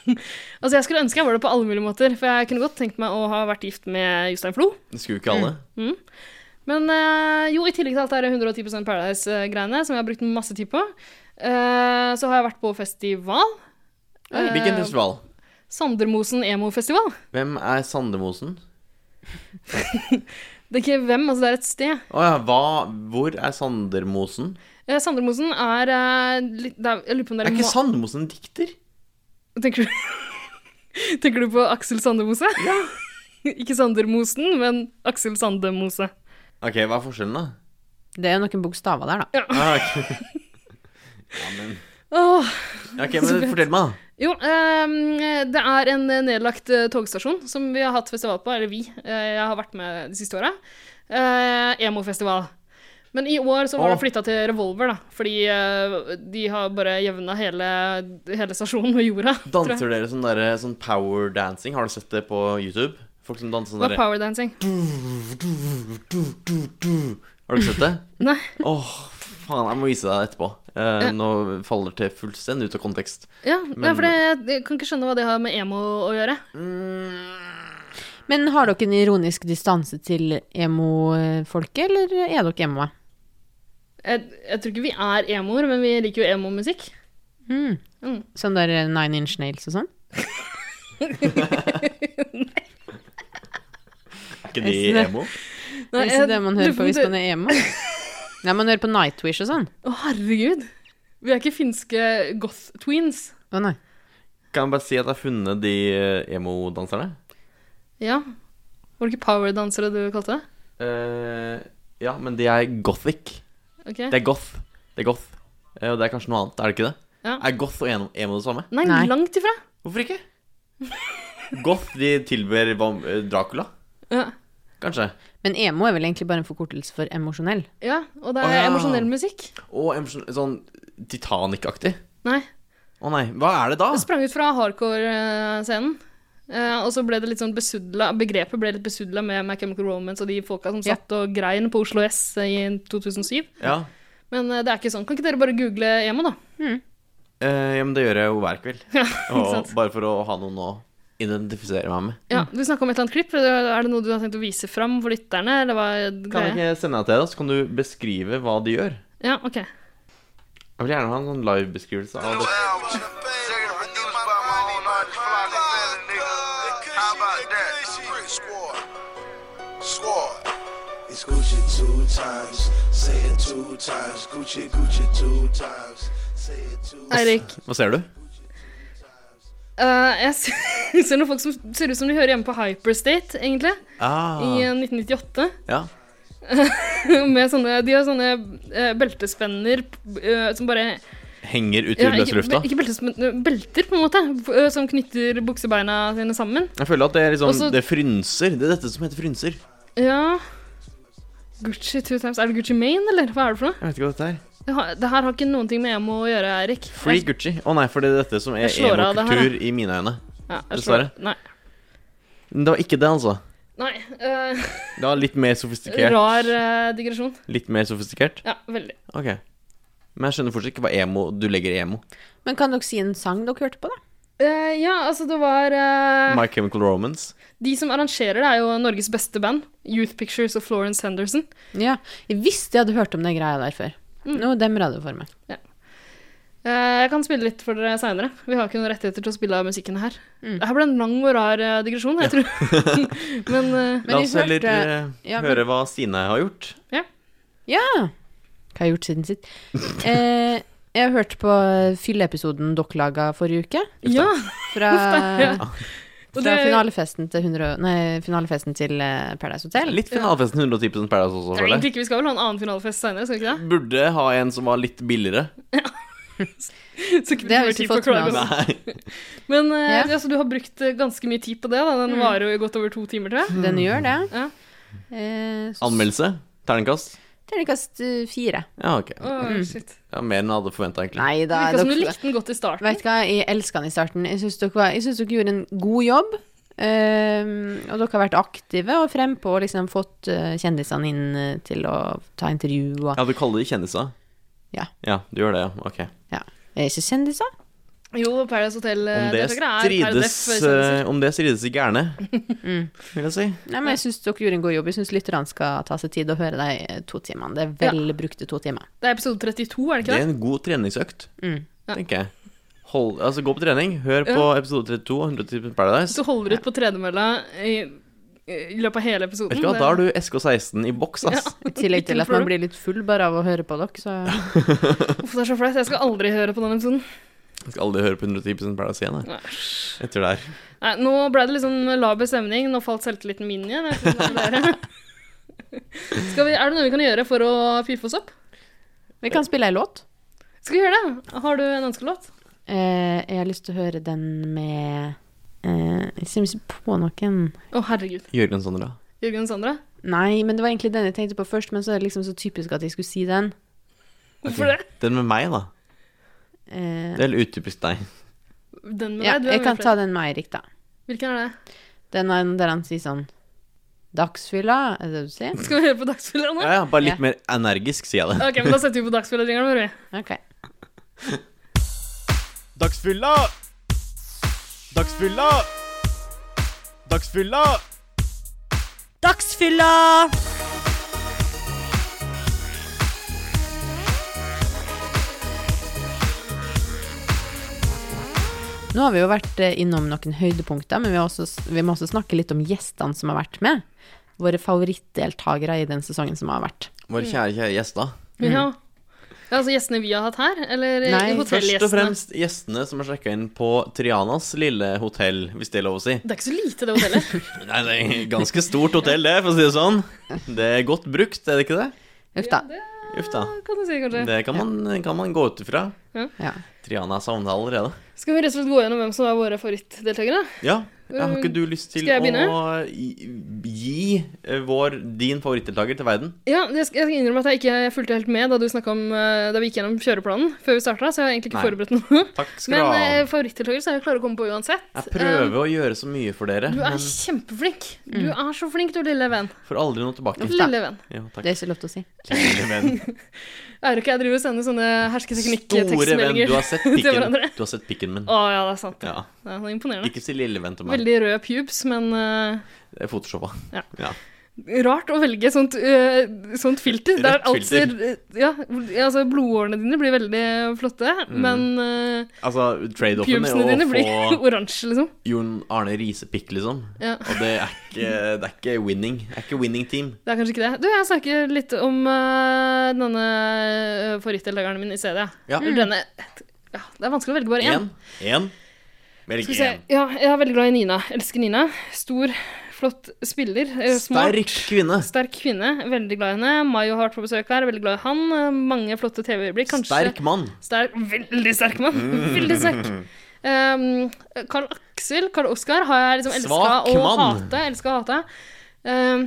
C: altså, jeg skulle ønske jeg var det på alle mulige måter, for jeg kunne godt tenkt meg å ha vært gift med Jostein Flo.
D: Det skulle jo ikke alle.
C: Mm. Men eh, jo, i tillegg til alt det her 110 Paradise-greiene, som jeg har brukt masse tid på, eh, så har jeg vært på festival. Eh,
D: Hvilken festival?
C: Sandermosen emo-festival.
D: Hvem er Sandemosen?
C: Det er ikke hvem, altså det er et sted.
D: Å ja, hva Hvor er Sandermosen?
C: Eh, Sandermosen er eh, litt det er- Jeg lurer på om det
D: Er
C: er
D: ikke
C: ma-
D: Sandemosen en dikter?
C: Tenker du, tenker du *laughs* på Aksel Sandemose? Ja. *laughs* ikke Sandermosen, men Aksel Sandemose.
D: Ok, hva er forskjellen, da?
B: Det er noen bokstaver der, da.
D: Ah, ok. ja, men,
C: Åh,
D: ja,
C: *laughs*
D: ok, men fortell meg, da.
C: Jo, ehm, det er en nedlagt eh, togstasjon som vi har hatt festival på, eller vi. eh, jeg har vært med de siste åra. Eh, Emo-festival. Men i år så var det
D: Åh.
C: flytta til Revolver, da. Fordi eh, de har bare jevna hele, hele stasjonen med jorda. tror jeg.
D: Danser dere sånn, der, sånn power dancing? Har du sett det på YouTube? Folk som danser sånn
C: Det var
D: derre
C: powerdancing.
D: Har du ikke sett det?
C: Nei.
D: Åh, faen, jeg må vise deg etterpå. Eh, nå faller det fullstendig ut av kontekst.
C: Ja,
D: Men-
C: ja, for det, jeg kan ikke skjønne hva det har med emo å gjøre.
B: Men har dere en ironisk distanse til emo-folket, eller er dere emoer?
C: Jeg, jeg tror ikke vi er emoer, men vi liker jo emo-musikk.
B: Mm.
C: Mm.
B: Sånn der Nine Inch Nails og sånn?
D: Er ikke det
B: Jeg synes det-
D: emo?
B: Det
C: Nei,
B: er ikke
C: jeg-
B: det man hører
C: du-
B: på hvis
C: du-
B: man
C: *laughs*
B: er emo. Nei, man hører på Nightwish og sånn.
C: Å, herregud. Vi er ikke finske goth-tweens.
B: Å nei.
D: Kan jeg bare si at jeg har funnet de eh, emo-danserne?
C: Ja. Var det ikke powerdansere du kalte det?
D: Eh, ja, men de er gothic.
C: Ok.
D: Det er goth. Det er goth. Eh, Og det er kanskje noe annet, er det ikke det?
C: Ja.
D: Er goth og emo, emo det samme?
C: Nei,
B: Nei.
C: langt ifra.
D: Hvorfor ikke? Goth, de tilber vam- eh, Dracula,
C: Ja.
D: kanskje?
B: Men emo er vel egentlig bare en forkortelse for emosjonell.
C: ja, og det
D: Å,
C: er
D: ja.
C: emosjonell musikk.
D: Og emosjon- sånn Titanic-aktig.
C: Nei.
D: Å nei, hva er det da?
C: Det sprang ut fra hardcore-scenen. Eh, og så ble det litt sånn besudla, begrepet ble litt besudla med My Chemical Romance og de folka som
B: Ja.
C: satt og grein på Oslo S i 2007.
D: Ja,
C: Men eh, det er ikke sånn. Kan ikke dere bare google emo, da?
D: eh, ja men det gjør jeg jo hver *laughs* kveld.
C: Ja, ikke
D: Og
C: sant?
D: bare for å ha noen å identifisere meg med.
C: Ja, du snakka om et eller annet klipp. Er det noe du har tenkt å vise fram for lytterne? Eller hva er
D: Kan jeg
C: greia?
D: ikke sende deg til deg, da, så kan du beskrive hva de gjør?
C: Ja, ok.
D: Jeg vil gjerne ha en sånn livebeskrivelse av det.
J: It's Gucci two times, say it two times, Gucci, Gucci two times, say it two
C: Eirik,
D: Hva ser du?
C: eh, jeg *laughs* ser- ser noen folk som ser ut som de hører hjemme på Hyperstate, egentlig. I eh,
D: Ah,
C: 1998.
D: ja.
C: *laughs* Med sånne, de har sånne eh, beltespenner eh, som bare
D: Henger ut i
C: Ja,
D: løse
C: ikke,
D: lufta.
C: ikke beltespenner, belter, på en måte. f- eh, Som knytter buksebeina sine sammen.
D: Jeg føler at det er liksom
C: Også-
D: Det er frynser. Det er dette som heter frynser.
C: Ja Gucci two times. Er det Gucci Mane, eller? Hva er det for noe?
D: Jeg vet ikke hva dette er.
C: Det, har, det her har ikke noen ting med emo å gjøre, Eirik.
D: Free Gucci. Å nei, for det er dette som er
C: Jeg slår av det her,
D: emokultur i mine øyne.
C: Ja, jeg slår-
D: Dessverre.
C: Nei.
D: Men det var ikke det, altså.
C: Nei eh,
D: Det var litt mer sofistikert.
C: rar eh, digresjon.
D: Litt mer sofistikert?
C: Ja, veldig.
D: Ok. Men jeg skjønner fortsatt ikke hva emo du legger i emo.
B: Men kan dere si en sang dere hørte på, da?
C: Eh, ja, altså, det var eh,
D: My Chemical Romance.
C: De som arrangerer det, er jo Norges beste band. Youth Pictures og Florence Henderson.
B: Ja, jeg visste jeg hadde hørt om den greia der før.
C: Mm.
B: Nå demra det for meg.
C: Eh, Jeg kan spille litt for dere seinere. Vi har ikke noen rettigheter til å spille av musikken her.
B: Mm.
C: Det her ble en lang og rar eh, digresjon, jeg tror. *laughs* Men eh,
D: La
B: vi
D: oss heller
B: hørte-
D: eh,
B: ja, men-
D: høre hva Stine har gjort.
B: Ja! Hva har jeg gjort siden sitt? Eh, jeg har hørt på fylleepisoden dere laga forrige uke.
C: ja.
B: Fra,
C: ja. Og
B: fra
C: det-
B: finalefesten til, 100, og- nei, finalefesten til eh, Paradise Hotel.
D: Litt finalefesten 110 Paradise også, føler
C: Det er
D: jeg.
C: egentlig ikke, Vi skal vel ha en annen finalefest seinere, skal vi ikke det? *laughs*
D: Burde ha en som var litt billigere. *laughs*
C: Så ikke
B: Det har vi
C: bruker tid
B: ikke
C: på å
B: fått med
C: klage
B: oss.
C: oss. Men eh,
B: Ja. Mm.
C: altså, du har brukt eh, ganske mye tid på det. Da. Den varer jo i godt over to timer, tror jeg.
B: Den gjør det.
C: Mm. Ja.
B: Eh, så-
D: Anmeldelse? Terningkast?
B: Terningkast eh, fire.
D: Ja, ok.
C: Åh, shit.
D: Ja, mer enn jeg hadde forventa, egentlig.
B: Nei Mm.
C: Det
B: da.
C: virka som du
B: dere-
C: likte den godt i starten.
B: Vet du hva, jeg elska den i starten. Jeg syns dere, var- jeg synes dere gjorde en god jobb. ehm, og dere har vært aktive og frempå og liksom fått eh, kjendisene inn eh, til å ta intervju og
D: Ja, du kaller de kjendiser?
B: Ja.
D: ja. Du gjør det, ja. Ok.
B: Er ikke Eh, kjendiser?
C: Jo, Paradise
D: Om det
C: Hotel-deltakere er per
D: strides,
C: def kjendiser.
D: eh, om det strides ikke gjerne, vil jeg si.
B: Nei, men jeg syns dere gjorde en god jobb. Jeg syns lytterne skal ta seg tid og høre de eh, to timene. Det er vel brukte to timer.
C: Det er episode 32, er det
D: Det er
C: ikke det?
D: en god treningsøkt,
B: Mm.
C: Ja.
D: tenker jeg. Hold, altså, gå på trening. Hør på
C: Ja.
D: episode 32 av 110
C: Hvis
D: Paradise.
C: du holder ut på tredemølla i, i løpet av hele episoden
D: Vet du hva,
C: det-
D: da er du SK16 i boks, ass.
B: I tillegg til at man blir litt full bare av å høre på dere, så
C: Uff, det er så flaut. Jeg skal aldri høre på den episoden.
D: Jeg skal aldri høre på 110 Paradise igjen, jeg.
C: Nei.
D: Etter det her.
C: Nei, nå ble det liksom laber stemning. Nå falt selvtilliten min igjen. Jeg vet ikke om det er
D: *laughs*
C: dere. Skal vi, er det noe vi kan gjøre for å piffe oss opp?
B: Vi kan spille ei låt.
C: Skal vi gjøre det? Har du en ønskelåt?
B: Eh, jeg har lyst til å høre den med eh, Jeg syns på noen
C: Å, herregud.
D: Jørgen Sondra.
C: Jørgen og Sandra?
B: Nei, men det var egentlig den jeg tenkte på først, men så er det liksom så typisk at jeg skulle si den.
C: Hvorfor det?
D: Den med meg, da.
B: Eh,
D: Det er litt utypisk deg.
C: Den med
B: ja,
C: deg? Du er
B: jeg
C: med
B: kan
C: flere.
B: ta den med Eirik, da.
C: Hvilken er det?
B: Den er den der han sier sånn Dagsfylla, er det det du sier?
C: *laughs* Skal vi høre på Dagsfylla nå?
D: Ja, ja, bare litt
B: Ja.
D: mer energisk, sier jeg det.
C: Ok, men Da setter vi på Dagsfylla-jingeren vår. vi.
B: Ok.
D: Dagsfylla! Dagsfylla! Dagsfylla!
A: Dagsfylla!
B: Nå har vi jo vært eh, innom noen høydepunkter, men vi, har også, vi må også snakke litt om gjestene som har vært med. Våre favorittdeltakere i den sesongen som har vært.
D: Våre kjære, kjære gjester.
C: Ja. ja, altså gjestene vi har hatt her? Eller
B: Nei,
C: Nei,
D: Mm. Først
C: hotellgjestene?
D: og fremst gjestene som har sjekka inn på Trianas lille hotell, hvis det er lov å si.
C: Det er ikke så lite, det hotellet.
D: Nei, det er et ganske stort hotell, det, for å si det sånn. Det er godt brukt, er det ikke det?
B: Uff da.
D: Uff da.
C: kan du si,
D: *laughs*
C: kanskje.
D: Det kan man, kan man gå ut ifra.
B: Ja.
D: Triana er savna allerede.
C: Skal vi rett og slett gå gjennom hvem som er våre favorittdeltakere?
D: Ja, jeg har ikke du lyst til
C: Um, Skal jeg
D: å gi eh, vår, din favorittdeltaker til verden?
C: Ja, det sk- jeg skal innrømme at jeg ikke fulgte helt med da, du snakket om, eh, da vi gikk gjennom kjøreplanen før vi starta, så jeg har egentlig ikke
D: Nei.
C: forberedt
D: *laughs*
C: noe.
D: Takk skal
C: Men
D: du ha.
C: eh, favorittdeltaker så er jeg klare å komme på uansett. Eh,
D: Jeg prøver å gjøre så mye for dere,
C: Du er
D: men
C: kjempeflink. Du er så flink, du lille venn.
D: får aldri noe tilbake.
C: Lille venn.
D: Ja,
B: Det
D: takk.
B: er ikke lov til å si.
D: Lille
C: *laughs*
D: venn.
C: Er du ikke jeg driver og sender sånne
D: Store venn,
C: hersketeknikk-tekstmeldinger
D: du har sett
C: til
D: pikken,
C: hverandre?
D: du har sett pikken min.
C: *laughs* Å ja, det er sant.
D: Ja.
C: Det er imponerende.
D: Ikke si lille venn til meg.
C: Veldig røde pubes, men eh,
D: Det er Photoshoppa.
C: Ja.
D: Ja.
C: Rart å velge sånt, øh, sånt filter.
D: Rødt
C: Der alt
D: filter.
C: ser Ja, altså blodårene dine blir veldig flotte, men øh,
D: Altså, trade-offen
C: pubesene
D: Mm. er
C: dine
D: å
C: blir
D: få
C: *laughs* oransje, liksom.
D: Jon Arne Risepikk, liksom.
C: Ja,
D: Og det er ikke, det er ikke winning. Det er ikke winning team.
C: det er kanskje ikke det. Du, jeg snakker litt om øh, denne øh, favorittdeltakeren min i stedet.
D: Ja.
C: Eller Denne ja, Det er vanskelig å velge bare én.
D: Én. Én. Velg
C: Skal vi se.
D: én.
C: Ja, jeg er veldig glad i Nina. Elsker Nina. Stor, flott spiller. eh, smart.
D: Sterk kvinne.
C: Sterk kvinne. Veldig glad i henne. Mayo har vært på besøk her. Veldig glad i han. Eh, Mange flotte TV-øyeblikk. Kanskje
D: Sterk mann.
C: Sterk, veldig sterk mann.
D: Mm.
C: Veldig sterk. Um, Carl Aksel, Carl Oskar, har jeg liksom
D: Svak
C: elska og
D: mann.
C: hata. Elska og hata. Um,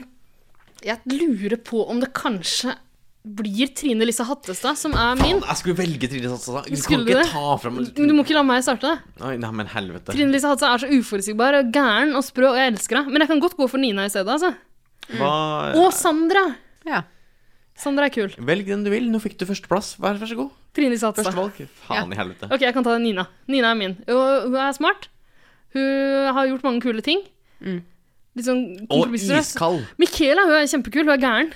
C: jeg lurer på om det kanskje blir Trine Lise Hattestad som er min.
D: Faen, jeg skulle velge Trine Satsa. Du kan
C: Skulle du
D: ikke
C: det?
D: ta fram
C: Men du må ikke la meg starte. det.
D: Oi, nei, men helvete.
C: Trine Lise Hattestad er så uforutsigbar og gæren og sprø, og jeg elsker henne. Men jeg kan godt gå for Nina i stedet. altså.
D: Hva
C: Og Sandra.
B: Ja.
C: Sandra er kul.
D: Velg den du vil. Nå fikk du førsteplass. Vær, vær så god.
C: Trine Lise Hattestad.
D: Førstevalg. Faen i helvete.
C: Ok, jeg kan ta Nina. Nina er min. Og hun er smart. Hun har gjort mange kule ting.
B: Mm.
C: Litt sånn
D: Og
C: kompromissløs.
D: iskald.
C: Michaela hun er kjempekul. Hun er gæren.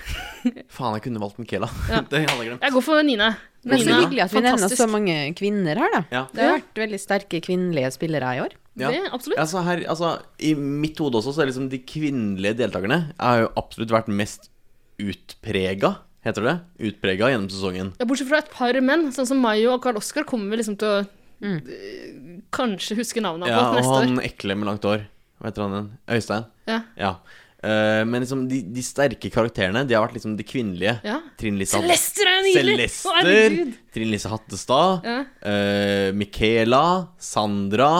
D: Faen, jeg kunne valgt Michaela. *laughs* Det hadde jeg glemt.
C: Jeg går for Nina.
B: Men så
C: Nina,
B: hyggelig at vi nevner så mange kvinner her, da.
D: Ja.
B: Det har vært veldig sterke kvinnelige spillere i år.
D: Ja.
C: Det, absolutt.
D: Altså, her, altså, I mitt hode også, så er liksom de kvinnelige deltakerne har jo absolutt vært mest utprega, heter det. Utprega gjennom sesongen.
C: Ja, bortsett fra et par menn, sånn som Mayo og Carl Oskar, kommer vi liksom til å
B: Mm.
C: øh, kanskje huske navnene
D: Ja,
C: på
D: og
C: neste år.
D: han ekle med langt hår. Hva heter han igjen? Øystein?
C: Ja.
D: Eh, men liksom de, de sterke karakterene, de har vært liksom de kvinnelige.
C: Ja.
D: Trine Lise Hatt-
C: Celester er nydelig! Å,
D: Celester,
C: herregud.
D: Trine Lise Hattestad,
C: Ja.
D: eh, Michaela, Sandra,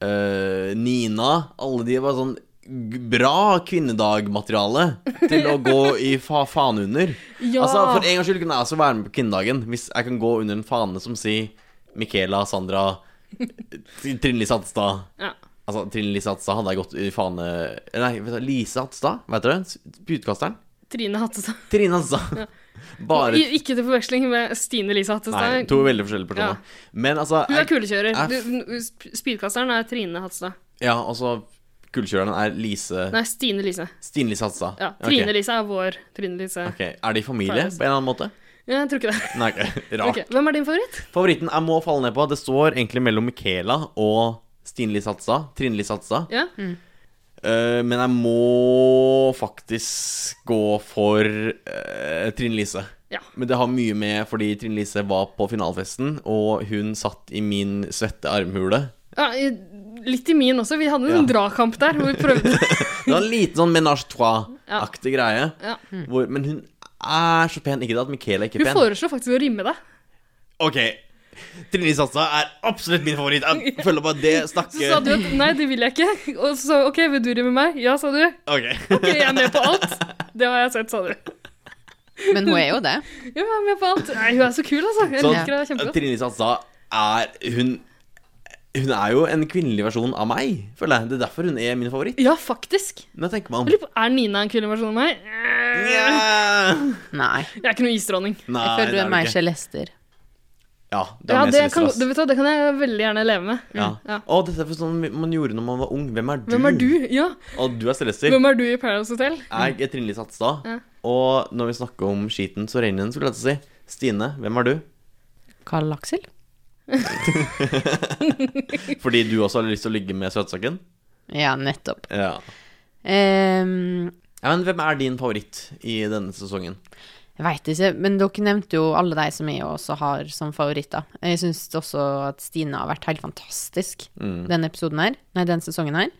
D: eh, Nina Alle de var sånn g- bra kvinnedagmateriale til å gå i fa faen under.
C: *laughs* Ja.
D: Altså, for en gangs skyld kunne jeg også være med på kvinnedagen, hvis jeg kan gå under en fane som sier Michaela, Sandra, eh, Trine Lise Hattestad.
C: Ja.
D: Altså, Trine Lise Hattestad hadde jeg gått i fane Nei, vet du, Lise Hattestad, vet du det? Spytkasteren.
C: Trine Hattestad.
D: Trine Hattestad.
C: Ja.
D: Bare-
C: I- Ikke til forveksling med Stine Lise Hattestad.
D: Nei, to veldig forskjellige personer.
C: Ja.
D: Men altså
C: Hun er
D: jeg-
C: kulekjører.
D: jeg-
C: Du- sp- Spydkasteren er Trine Hattestad.
D: Ja, og så Kullkjøreren er Lise
C: Nei, Stine Lise.
D: Stine Lise Hatsa.
C: Ja, Trine Lise er vår Trine Lise.
D: Er de familie
C: Farnes.
D: på en eller annen måte?
C: Ja, jeg tror ikke det.
D: Nei, ok, *laughs* rart.
C: Ok, Hvem er din favoritt?
D: Favoritten jeg må falle ned på, det står egentlig mellom Michaela og Stine Lise Hatsa. Trine Lise Hatsa.
C: Ja.
D: Eh, men jeg må faktisk gå for eh, Trine Lise.
C: Ja.
D: Men det har mye med fordi Trine Lise var på finalefesten, og hun satt i min svette armhule.
C: Ja, i- litt i min også. Vi hadde en sånn dragkamp der hvor vi
D: *laughs*
C: prøvde
D: Det var en liten sånn menage trois-aktig greie.
C: Ja. Mm.
D: Hvor, men hun er så pen. Ikke det at Michaela er ikke
C: Hun
D: pen.
C: foreslo faktisk å rimme deg.
D: Ok, Trine Satsa er absolutt min favoritt.
C: *laughs*
D: Jeg føler bare det
C: Så sa du
D: snakker
C: at nei, det vil jeg ikke. Og så sa hun, OK, vil du rimme meg? Ja, sa du. *laughs*
D: Ok.
C: OK, jeg er med på alt. Det har jeg sett, sa du.
B: Men hun er jo det.
C: Ja, jeg er med på alt. Nei, hun er så kul, altså. Jeg
D: Så
C: liker henne kjempegodt.
D: Sånn. Trine Satsa er Hun Hun er jo en kvinnelig versjon av meg, føler jeg. Det er derfor hun er min favoritt.
C: Ja, faktisk.
D: Nå tenker
C: Jeg
D: man
C: lurer på, Er Nina en kul versjon av meg?
D: *laughs*
B: Nei.
C: Jeg er ikke noe isdronning.
D: Nei,
B: Jeg
D: det
B: føler du
D: er
B: er
D: du
B: mer
D: ikke.
B: Celester.
D: Ja, det
C: Ja,
D: er
C: det
D: mest
C: kan,
D: Celeste,
C: du
D: ass.
C: vet hva, det kan jeg veldig gjerne leve med. Mm.
D: Ja.
C: Ja.
D: Å, dette er for sånn man gjorde når man var ung. Hvem er du?
C: Hvem er du? Ja.
D: Og du er Celester.
C: Hvem er du i Paradise Hotel? *laughs*
D: Jeg er Trine Lise Hatstad.
C: Ja.
D: Og når vi snakker om skiten, så regner den, skulle jeg til å si. Stine, hvem er du?
B: Karl Aksel?
D: Fordi du også har lyst til å ligge med søtsaken?
B: Ja, nettopp.
D: Ja.
B: Ehm,
D: ja. Men hvem er din favoritt i denne sesongen?
B: jeg veit ikke, men dere nevnte jo alle de som jeg også har som favoritter. Jeg syns også at Stine har vært helt fantastisk
D: Mm.
B: denne episoden her. Nei, den sesongen her.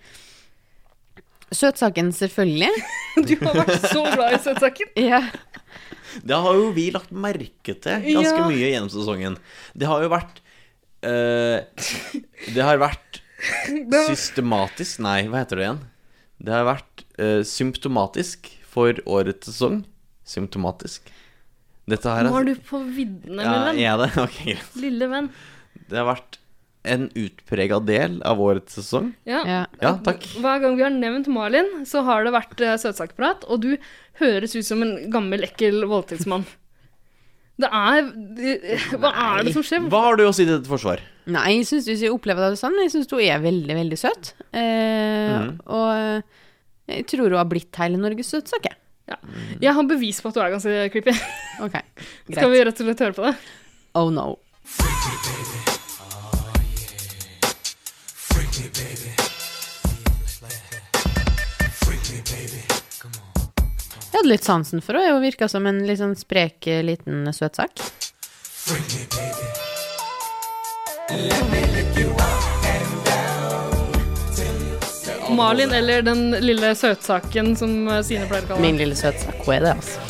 B: Søtsaken, selvfølgelig.
C: Du har vært så glad i søtsaken.
B: Ja.
D: Det har jo vi lagt merke til ganske
C: Ja.
D: mye gjennom sesongen. Det har jo vært eh, Det har
C: *laughs*
D: vært
C: var-
D: systematisk Nei, hva heter det igjen? Det har vært eh, symptomatisk for årets sesong. Symptomatisk. Dette her
C: Nå er du på viddene,
D: ja,
C: min venn.
D: jeg er det? *laughs* Ok, greit.
C: Lille venn.
D: Det har vært en utprega del av årets sesong.
C: Ja.
D: Ja, takk.
C: Hver gang vi har nevnt Malin, så har det vært eh, søtsakprat, og du høres ut som en gammel, ekkel voldtektsmann. *laughs* Det er det- Hva er det som skjer?
D: Hva har du å si til dette forsvar?
B: Nei, jeg syns ikke jeg opplever det sånn. Jeg syns hun er veldig, veldig søt. Eh,
D: Mhm.
B: Og jeg tror hun har blitt hele Norges søtsak, jeg.
C: Jeg har bevis på at du er ganske creepy. *laughs*
B: Ok,
C: Skal vi rett og slett høre på det?
B: Oh no. Jeg hadde litt sansen for henne. Hun virka som en litt sånn sprek, eh, liten søtsak.
C: Malin, eller den lille søtsaken som eh, Sine pleier å kalle
B: Min lille søtsak, hun er det, altså.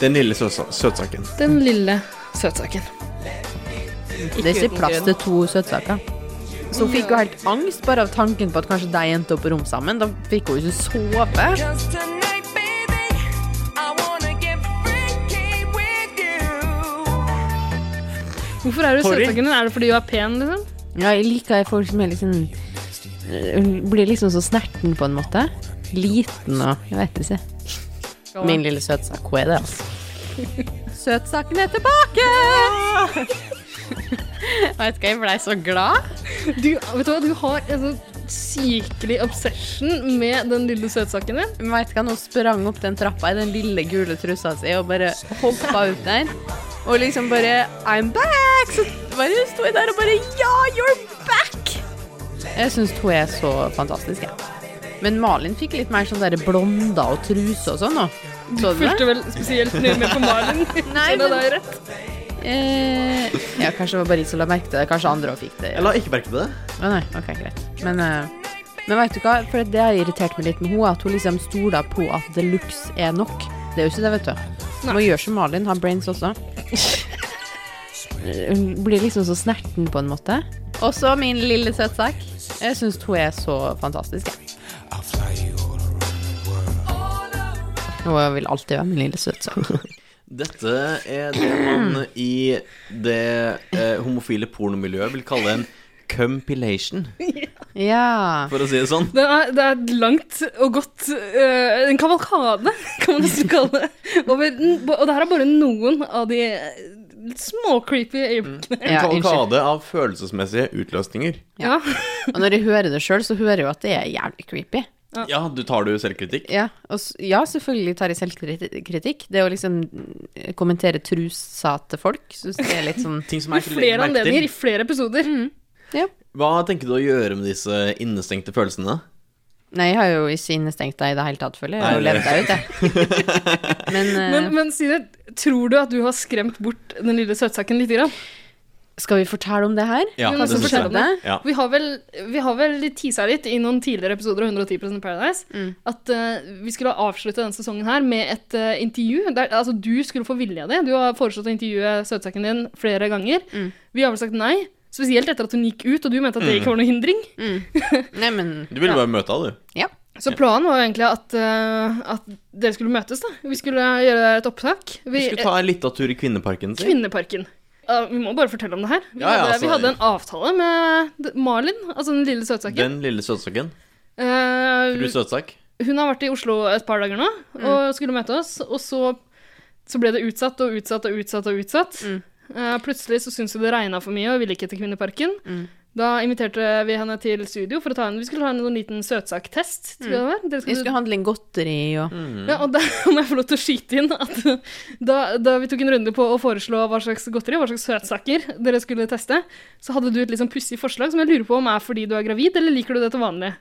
D: Den lille søtsa- søtsaken.
C: Den lille søtsaken.
B: Det er ikke plass til to søtsaker. Så hun fikk jo helt angst bare av tanken på at kanskje de endte opp på rom sammen. Da fikk hun jo ikke sove.
K: Just tonight, baby, I wanna get freaky with you.
C: Hvorfor er du
B: Sorry.
C: søtsaken din? Er det fordi du er pen, liksom?
B: Ja, jeg liker folk som er liksom Hun blir liksom så snerten på en måte. Liten og Jeg vet ikke. Min lille søtsak, hun er det, altså. Søtsaken er tilbake! Vet ikke, *laughs* jeg blei så glad.
C: Du, vet du hva, du har en sånn sykelig obsession med den lille søtsaken din.
B: Veit ikke, hun sprang opp den trappa i den lille gule trussa si og bare hoppa ut der. Og liksom bare I'm back! Så bare sto jeg der og bare Ja, you're back! Jeg syns hun er så fantastisk, jeg. Men Malin fikk litt mer sånn derre blonda og truse og sånn nå. Så du
C: Fulgte
B: det?
C: vel spesielt nøye med på Malin.
B: Nei,
C: Så det er
B: men-
C: deg rett.
B: Eh, ja, kanskje det var bare jeg som la merke til det. Kanskje andre òg fikk det.
D: Jeg la ikke merke til det.
B: Å nei, ok, greit. Men, eh, men vet du hva, for det har irritert meg litt med henne, at hun liksom stoler på at deluxe er nok. Det er jo ikke det, vet du. Hun Må gjøre som Malin, ha brains også. Hun blir liksom så snerten på en måte. Også min lille søtsak. Jeg syns hun er så fantastisk, jeg. Og jeg vil alltid være min lille søtsak.
D: Dette er det man i det eh, homofile pornomiljøet vil kalle en compilation.
B: Ja.
D: for å si det sånn.
C: *laughs* Det er, det er et langt og godt øh, En kavalkade, kan man nesten kalle det. Over, den- og det her er bare noen av de eh, litt småcreepy
B: Mm.
C: øyeblikkene.
D: En kavalkade av følelsesmessige utløsninger.
B: Ja. og når jeg hører det sjøl, så hører jeg jo at det er jævlig creepy.
D: Ja, du tar du selvkritikk?
B: Ja, og, s- ja, selvfølgelig tar jeg selvkritikk. Det å liksom eh, kommentere trusa til folk, syns jeg er litt sånn
D: Ting som
C: I flere anledninger, i flere episoder.
D: Hva tenker du å gjøre med disse innestengte følelsene?
B: Nei, jeg har jo ikke innestengt deg i det hele tatt, føler jeg. Jeg har jo
D: Nei,
B: levd deg ut, jeg.
D: *laughs*
B: Men, eh,
C: Men, men Sine, tror du at du har skremt bort den lille søtsaken lite grann?
B: Skal vi fortelle om det her?
D: Ja,
C: Vi må
D: det
C: også
D: synes jeg.
C: fortelle om det.
D: Ja.
C: Vi har vel, vi har vel teasa litt i noen tidligere episoder av 110 Paradise
D: Mm.
C: at eh, vi skulle avslutte denne sesongen her med et eh, intervju. Der, altså, du skulle få vilja di. Du har foreslått å intervjue søtsaken din flere ganger. Vi har vel sagt nei. Spesielt etter at hun gikk ut, og du mente at det
D: Mm.
C: ikke var noe hindring.
B: Nei, men
D: Du ville bare møte henne, du.
C: Så planen var jo egentlig at, eh, at dere skulle møtes, da. Vi skulle gjøre et opptak.
D: Vi skulle ta en liten tur i Kvinneparken. si.
C: Kvinneparken. Ja, vi må bare fortelle om det her.
D: Ja,
C: Vi,
D: ja,
C: hadde, vi
D: altså-
C: hadde en avtale med d- Malin, altså den lille søtsaken.
D: Den lille søtsaken.
C: Eh,
D: Fru Søtsak.
C: hun har vært i Oslo et par dager nå og skulle møte oss. Og så, så ble det utsatt og utsatt og utsatt og utsatt. Eh, plutselig så syntes hun det regna for mye og ville ikke til Kvinneparken. Da inviterte vi henne til studio for å ta en, vi skulle ta en sånn liten søtsaktest. tror jeg det var. Dere
B: Vi skulle handle inn godteri og
D: Mm.
C: ja, og da *laughs* må jeg få lov til å skyte inn at da, da vi tok en runde på å foreslå hva slags godteri, hva slags søtsaker dere skulle teste, så hadde du et litt sånn pussig forslag som jeg lurer på om er fordi du er gravid, eller liker du det til vanlig?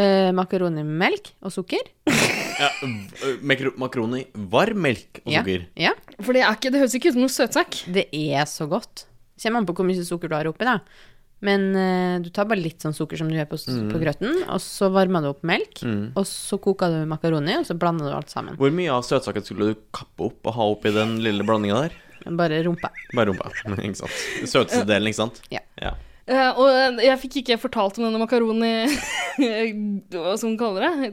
B: eh, makaroni med melk og sukker.
D: Ja, ø, makro makroni, varm melk og
B: Ja.
D: sukker.
B: Ja.
C: For det, er ikke, det høres ikke ut som noe søtsak.
B: Det er så godt. Kommer an på hvor mye sukker du har oppi, da. Men eh, du tar bare litt sånn sukker som du gjør på, s-
D: Mm.
B: på grøten, og så varmer du opp melk,
D: Mm.
B: og så koker du makaroni, og så blander du alt sammen.
D: Hvor mye av søtsaken skulle du kappe opp og ha oppi den lille blandinga der?
B: Bare rumpa.
D: Bare rumpa. *laughs* ikke sant. Søteste delen, ikke sant?
B: Ja.
C: Eh, og jeg fikk ikke fortalt om denne makaroni *laughs* Hva skal man kalle det?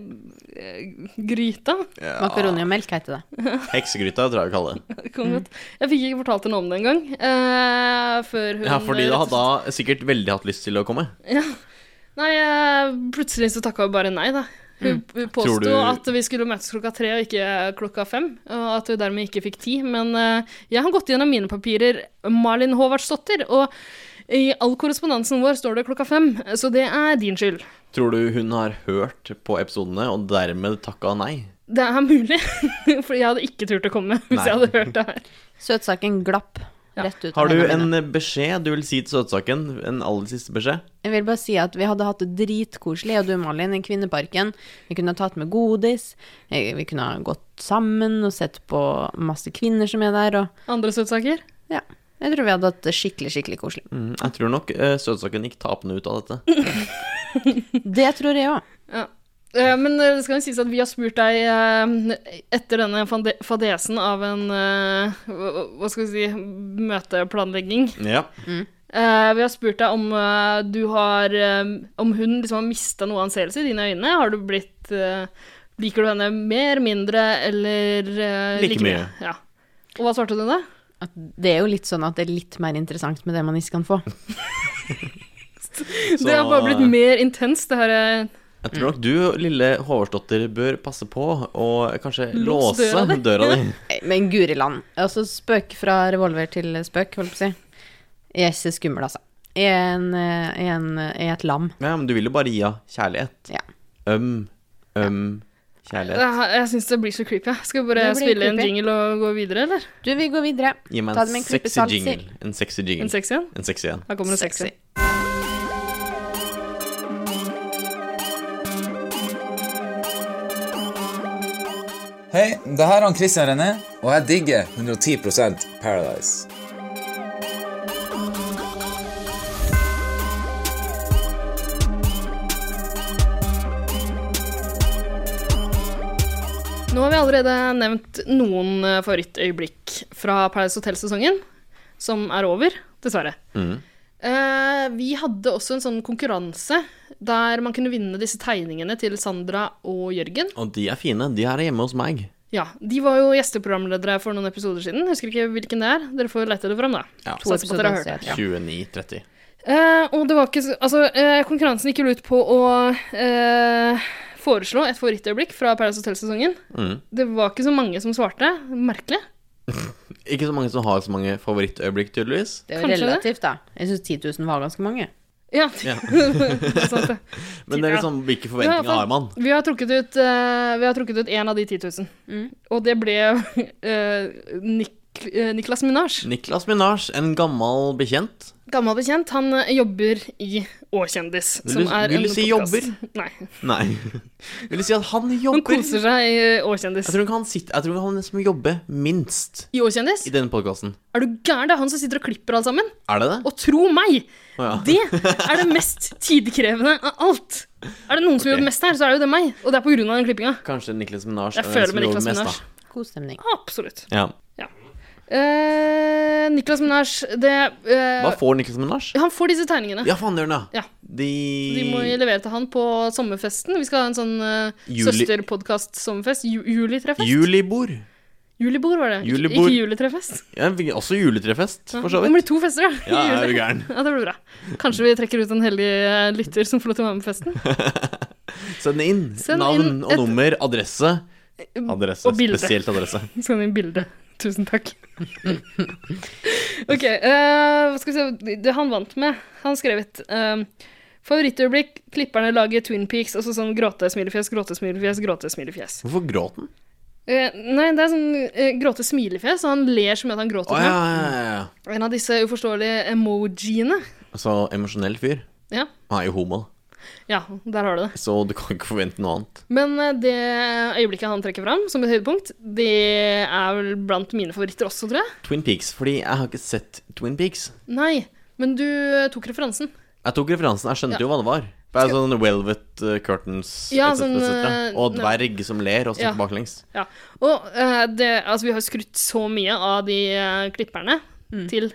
C: Eh, Gryta?
D: Ja.
B: Makaroni og melk heter det.
D: Heksegryta, tror jeg vi kaller det.
C: Det kan godt. Jeg fikk ikke fortalt henne om det engang. Uh, før hun
D: Ja, fordi da hadde hun sikkert veldig hatt lyst til å komme.
C: Ja. Nei, eh, plutselig så takka hun bare nei, da. Hun hun
D: Mm. Tror
C: påsto
D: du-
C: at vi skulle møtes klokka tre og ikke klokka fem, og at hun dermed ikke fikk tid. Men eh, jeg har gått gjennom mine papirer, Malin Håvardsdottir, og i all korrespondansen vår står det klokka fem, så det er din skyld.
D: Tror du hun har hørt på episodene og dermed takka nei?
C: Det er mulig, *laughs* for jeg hadde ikke turt å komme hvis
D: Nei.
C: jeg hadde hørt det her.
B: Søtsaken glapp rett ut. av
D: Har du
B: hendene
D: en
B: mine.
D: beskjed du vil si til søtsaken? En aller siste beskjed?
B: Jeg vil bare si at vi hadde hatt det dritkoselig, og du, Malin, i Kvinneparken. Vi kunne ha tatt med godis, eh, vi kunne ha gått sammen og sett på masse kvinner som er der, og
C: Andre søtsaker?
B: Ja. Jeg tror vi hadde hatt det skikkelig, skikkelig koselig.
D: Mm, jeg tror nok eh, søtsaken gikk tapende ut av dette.
B: Det tror jeg òg.
C: Ja. Eh, Men eh, det skal jo sies at vi har spurt deg eh, etter denne fande- fadesen av en eh, hva- Hva skal vi si møteplanlegging.
D: Ja.
C: Eh, Vi har spurt deg om eh, du har eh, Om hun liksom har mista noe anseelse i dine øyne. Har du blitt eh, Liker du henne mer, mindre eller eh,
D: Like
C: like
D: mye.
C: Ja. Og hva svarte du
D: *laughs*
C: da?
B: Det er jo litt sånn at det er litt mer interessant med det man ikke kan få.
C: Det har bare blitt mer intenst, det her. eh,
D: Jeg tror nok du, lille Håvardsdotter, bør passe på å kanskje
B: Lås
D: låse
B: døra di.
D: døra
B: *laughs*
D: di.
B: Men guri land. Altså, spøk fra revolver til spøk, holdt på å si. Jeg er ikke skummel, altså. Jeg er, en, eh, jeg er, en, jeg er et lam.
D: Ja, men du vil jo bare gi henne kjærlighet.
B: Ja.
D: Øm, øm kjærlighet.
C: Jeg, jeg syns det blir så creepy. jeg. Skal vi bare
B: Det blir
C: spille en
B: creepy.
C: jingle og gå videre, eller?
B: Du, vi går videre.
D: Gi meg
B: Ta det
D: en
B: med en klype
D: sexy
B: salt, si.
D: jingle. En sexy jingle.
C: En sexy en?
D: En sexy en.
C: Her kommer det sexy.
L: Hei, det her er han Christian René, og jeg digger 110 Paradise.
C: Nå har vi allerede nevnt noen eh, favorittøyeblikk fra Paradise Hotel-sesongen, som er over, dessverre. Eh, vi hadde også en sånn konkurranse der man kunne vinne disse tegningene til Sandra og Jørgen.
D: Og de er fine. De her er hjemme hos meg.
C: Ja, De var jo gjesteprogramledere for noen episoder siden. Husker ikke hvilken det er. Dere får lete det fram, da.
D: Ja.
C: Satser på at dere har hørt det.
D: 29.30.
C: Eh, og det var ikke så Altså, eh, konkurransen gikk jo ut på å eh, foreslå et favorittøyeblikk fra Paradise Hotel-sesongen.
D: Mm.
C: Det var ikke så mange som svarte. Merkelig.
D: Ikke så mange som har så mange favorittøyeblikk, tydeligvis.
B: Det er jo
C: Kanskje det.
B: relativt, da. Jeg syns 10 000 var ganske mange.
C: Ja.
B: *laughs*
D: Ja.
C: Det er sant, det.
D: Men det er liksom, hvilke *laughs* forventninger har man?
C: Vi har trukket ut eh, Vi har trukket ut én av de 10 000. Og det ble *laughs* eh, Nik eh, Niklas Minasj.
D: Niklas Minaj, en gammel bekjent.
C: Gammel bekjent. Han eh, jobber i Åkjendis.
D: Vil du- vil du si
C: podcast.
D: jobber? *laughs*
C: Nei.
D: Nei. Vil du si at han jobber
C: Han koser seg i Åkjendis.
D: Jeg tror ikke han sitter Jeg tror han er den som jobber minst
C: I Åkjendis?
D: i denne podkasten.
C: Er du gæren? Det er han som sitter og klipper alt sammen.
D: Er det det?
C: Og tro meg!
D: Å ja.
C: Det er det mest tidkrevende av alt. Er det noen som gjør mest her, så er det jo det meg. Og det er på grunn av den klippinga.
D: Kanskje Niklas Minaj
C: Jeg
D: er den
C: føler
D: som
C: med
D: jobber
C: Niklas
D: mest,
C: Minaj.
D: da.
B: God stemning.
C: Absolutt.
D: Ja.
C: Eh, Niklas Minaj, det eh,
D: Hva får Niklas Minaj?
C: Han får disse tegningene.
D: Ja, faen gjør han det.
C: Ja.
D: De,
C: De må jeg levere til han på sommerfesten. Vi skal ha en sånn uh,
D: Juli-
C: søsterpodkast-sommerfest. Ju julitrefest.
D: Julibord.
C: Julibord var det. Ikke-
D: Julibord.
C: Ikke juletrefest.
D: Ja, vi- også juletrefest, for så
C: Det blir
D: vidt.
C: to *laughs* fester, da.
D: Ja,
C: Jule-
D: er du gæren.
C: Ja, det blir bra. Kanskje vi trekker ut en heldig eh, lytter som får lov til å være med på festen.
D: Send inn
C: Send
D: navn
C: inn
D: og
C: et- Mm,
D: nummer, adresse. Adresse.
C: og bilde.
D: Spesielt adresse.
C: *laughs* Send inn bilde. Tusen
D: *laughs*
C: takk. ok, eh, hva skal vi se Det han vant med, han skrev et eh, favorittøyeblikk, klipperne lager Twin Peaks, altså sånn gråte, smilefjes, gråte, smilefjes, gråte, smilefjes.
D: Hvorfor gråt han?
C: Eh, nei, det er sånn eh, gråte, smilefjes, og han ler så mye at han gråter.
D: Å ja, ja, ja, ja.
C: En av disse uforståelige emojiene.
D: Så emosjonell fyr.
C: Ja,
D: Han er jo homo,
C: ja, der har du det.
D: så du kan ikke forvente noe annet.
C: Men eh, det øyeblikket han trekker fram som et høydepunkt, det er vel blant mine favoritter også, tror jeg.
D: Twin Peaks, fordi jeg har ikke sett Twin Peaks.
C: Nei, men du eh, tok referansen.
D: Jeg tok referansen, jeg skjønte
C: Ja.
D: jo hva det var. Det er sånn velvet uh, curtains
C: Ja,
D: et
C: sånn,
D: cetera, et cetera.
C: eh,
D: Og
C: ne-
D: dverg som ler og står
C: Ja.
D: baklengs.
C: Ja. Og eh, det, altså, vi har skrutt så mye av de eh, klipperne til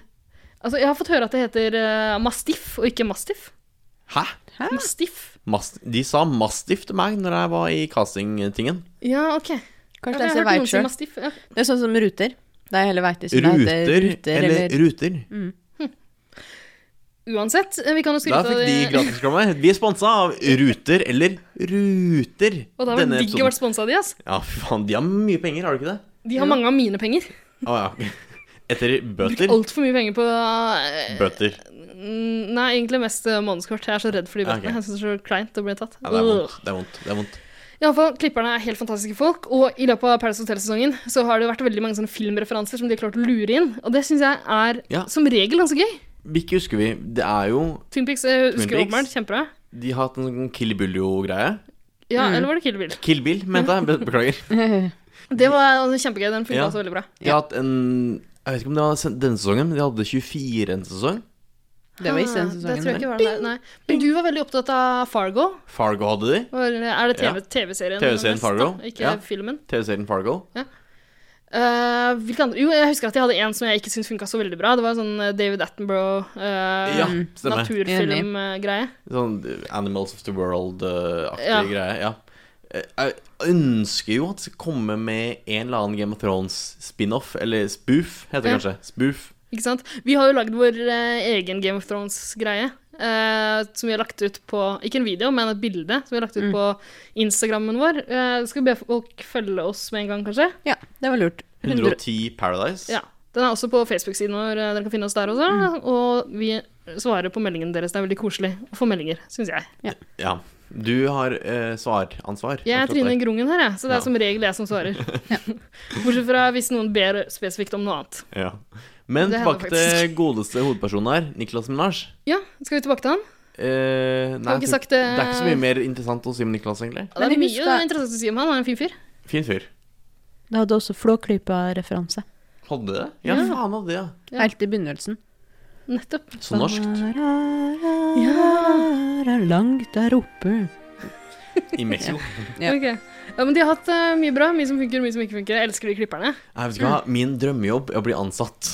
C: Altså, jeg har fått høre at det heter eh, mastiff og ikke mastiff.
D: Hæ?
C: Mastiff.
D: Mast de sa mastiff til meg når jeg var i castingtingen.
C: Ja, OK.
B: Kanskje det
C: Ja, for
B: er så
C: jeg har hørt noen si
B: voucher.
C: mastiff, ja.
B: Det er sånn som ruter. Det er hele veitis.
D: Ruter, eller, ruter.
B: Mm.
C: Uansett, eh, vi kan jo
D: Da
C: skryte
D: fikk de gratisreklame. Vi er sponsa av Ruter, eller Ruter,
C: Og da var det digg å være sponsa av de, ass.
D: Ja, fy faen, de har mye penger, har de ikke det?
C: De har mange av mine penger.
D: Å ja. *laughs* Etter bøter.
C: Altfor mye penger på eh,
D: Bøter.
C: mm, Nei, egentlig mest eh, månedskort. Jeg er så redd for de
D: Ja,
C: bøtene.
D: ok.
C: Jeg syns det er så kleint å bli tatt.
D: Ja, det er
C: Ugh.
D: vondt. Det er vondt. Det er vondt.
C: Iallfall, klipperne er helt fantastiske folk, og i løpet av Paradise Hotel-sesongen så har det vært veldig mange sånne filmreferanser som de har klart å lure inn, og det syns jeg er
D: Ja.
C: som regel ganske gøy.
D: Hvilke husker vi? Det er jo
C: Twin Peaks jeg husker
D: Twin Peaks?
C: åpenbart kjempebra.
D: De har hatt en sånn Kill Bill-greie.
C: Ja,
D: Mm.
C: eller var det Kill Bill?
D: Kill Bill, mente jeg. Be-
C: *laughs*
D: Beklager. *laughs*
C: Det var altså, kjempegøy, den funka
D: Ja.
C: også veldig bra.
D: De har hatt en Jeg vet ikke om det var sen- denne sesongen, men de hadde 24 en sesong.
B: *laughs* Det var ikke den
C: Ah,
B: sesongen.
C: Det tror jeg ikke var den der, nei. Men du var veldig opptatt av Fargo.
D: Fargo hadde de.
C: Var- Er det
D: Ja.
C: TV TV-serien?
D: TV-serien
C: mest,
D: Fargo,
C: da, Ikke
D: ja.
C: filmen.
D: TV-serien Fargo.
C: Eh, hvilke andre? Jo, jeg husker at jeg hadde en som jeg ikke syntes funka så veldig bra. Det var en sånn eh, David
D: Ja,
C: eh, Attenborough-naturfilmgreie.
D: stemmer.
C: naturfilmgreie.
D: Sånn eh, Animals of the World-aktig
C: Ja.
D: greie. Ja. Eh, Jeg ønsker jo at det skal komme med en eller annen Game of Thrones-spin-off, eller spoof, heter det
C: Ja.
D: kanskje. Spoof.
C: Ikke sant? Vi har jo lagd vår eh, egen Game of Thrones-greie. eh, som vi har lagt ut på Ikke en video, men et bilde som vi har lagt ut på Instagrammen vår. Eh, skal vi be folk følge oss med en gang, kanskje?
B: Ja, det var lurt.
D: 110 Paradise.
C: Ja. Den er også på Facebook-siden vår. eh, Dere kan finne oss der også. Og vi svarer på meldingene deres. Det er veldig koselig å få meldinger, syns jeg.
D: Ja. Du har eh, svaransvar.
C: Jeg er
D: akkurat
C: Trine
D: der.
C: Grungen her, jeg, så det
D: Ja.
C: er som regel jeg som *laughs* svarer. Bortsett fra hvis noen ber spesifikt om noe annet.
D: Ja. Men
C: Det hender
D: tilbake til godeste hovedpersonen her, Niklas Minaj.
C: Ja, skal vi tilbake til han?
D: Eh, nei,
C: Har
D: jeg
C: vi ikke
D: tror-
C: sagt
D: det
C: det-
D: er ikke så mye mer interessant å si om Niklas, egentlig.
C: Det er
B: Men vi
C: mye
B: husker-
C: interessant å si om han. Han er en fin fyr.
D: Fin fyr.
B: Det hadde også Flåklypa-referanse.
D: Hadde det? Ja,
B: Ja.
D: faen hadde det, ja.
B: Helt i begynnelsen.
C: Nettopp.
D: Så norskt.
B: Ja, langt der oppe.
D: I Mexico.
B: Ja.
C: Ok. Ja, men de har hatt eh, mye bra. Mye som funker, mye som ikke funker. Jeg elsker de klipperne.
D: Jeg vet ikke hva, Min drømmejobb er å bli ansatt.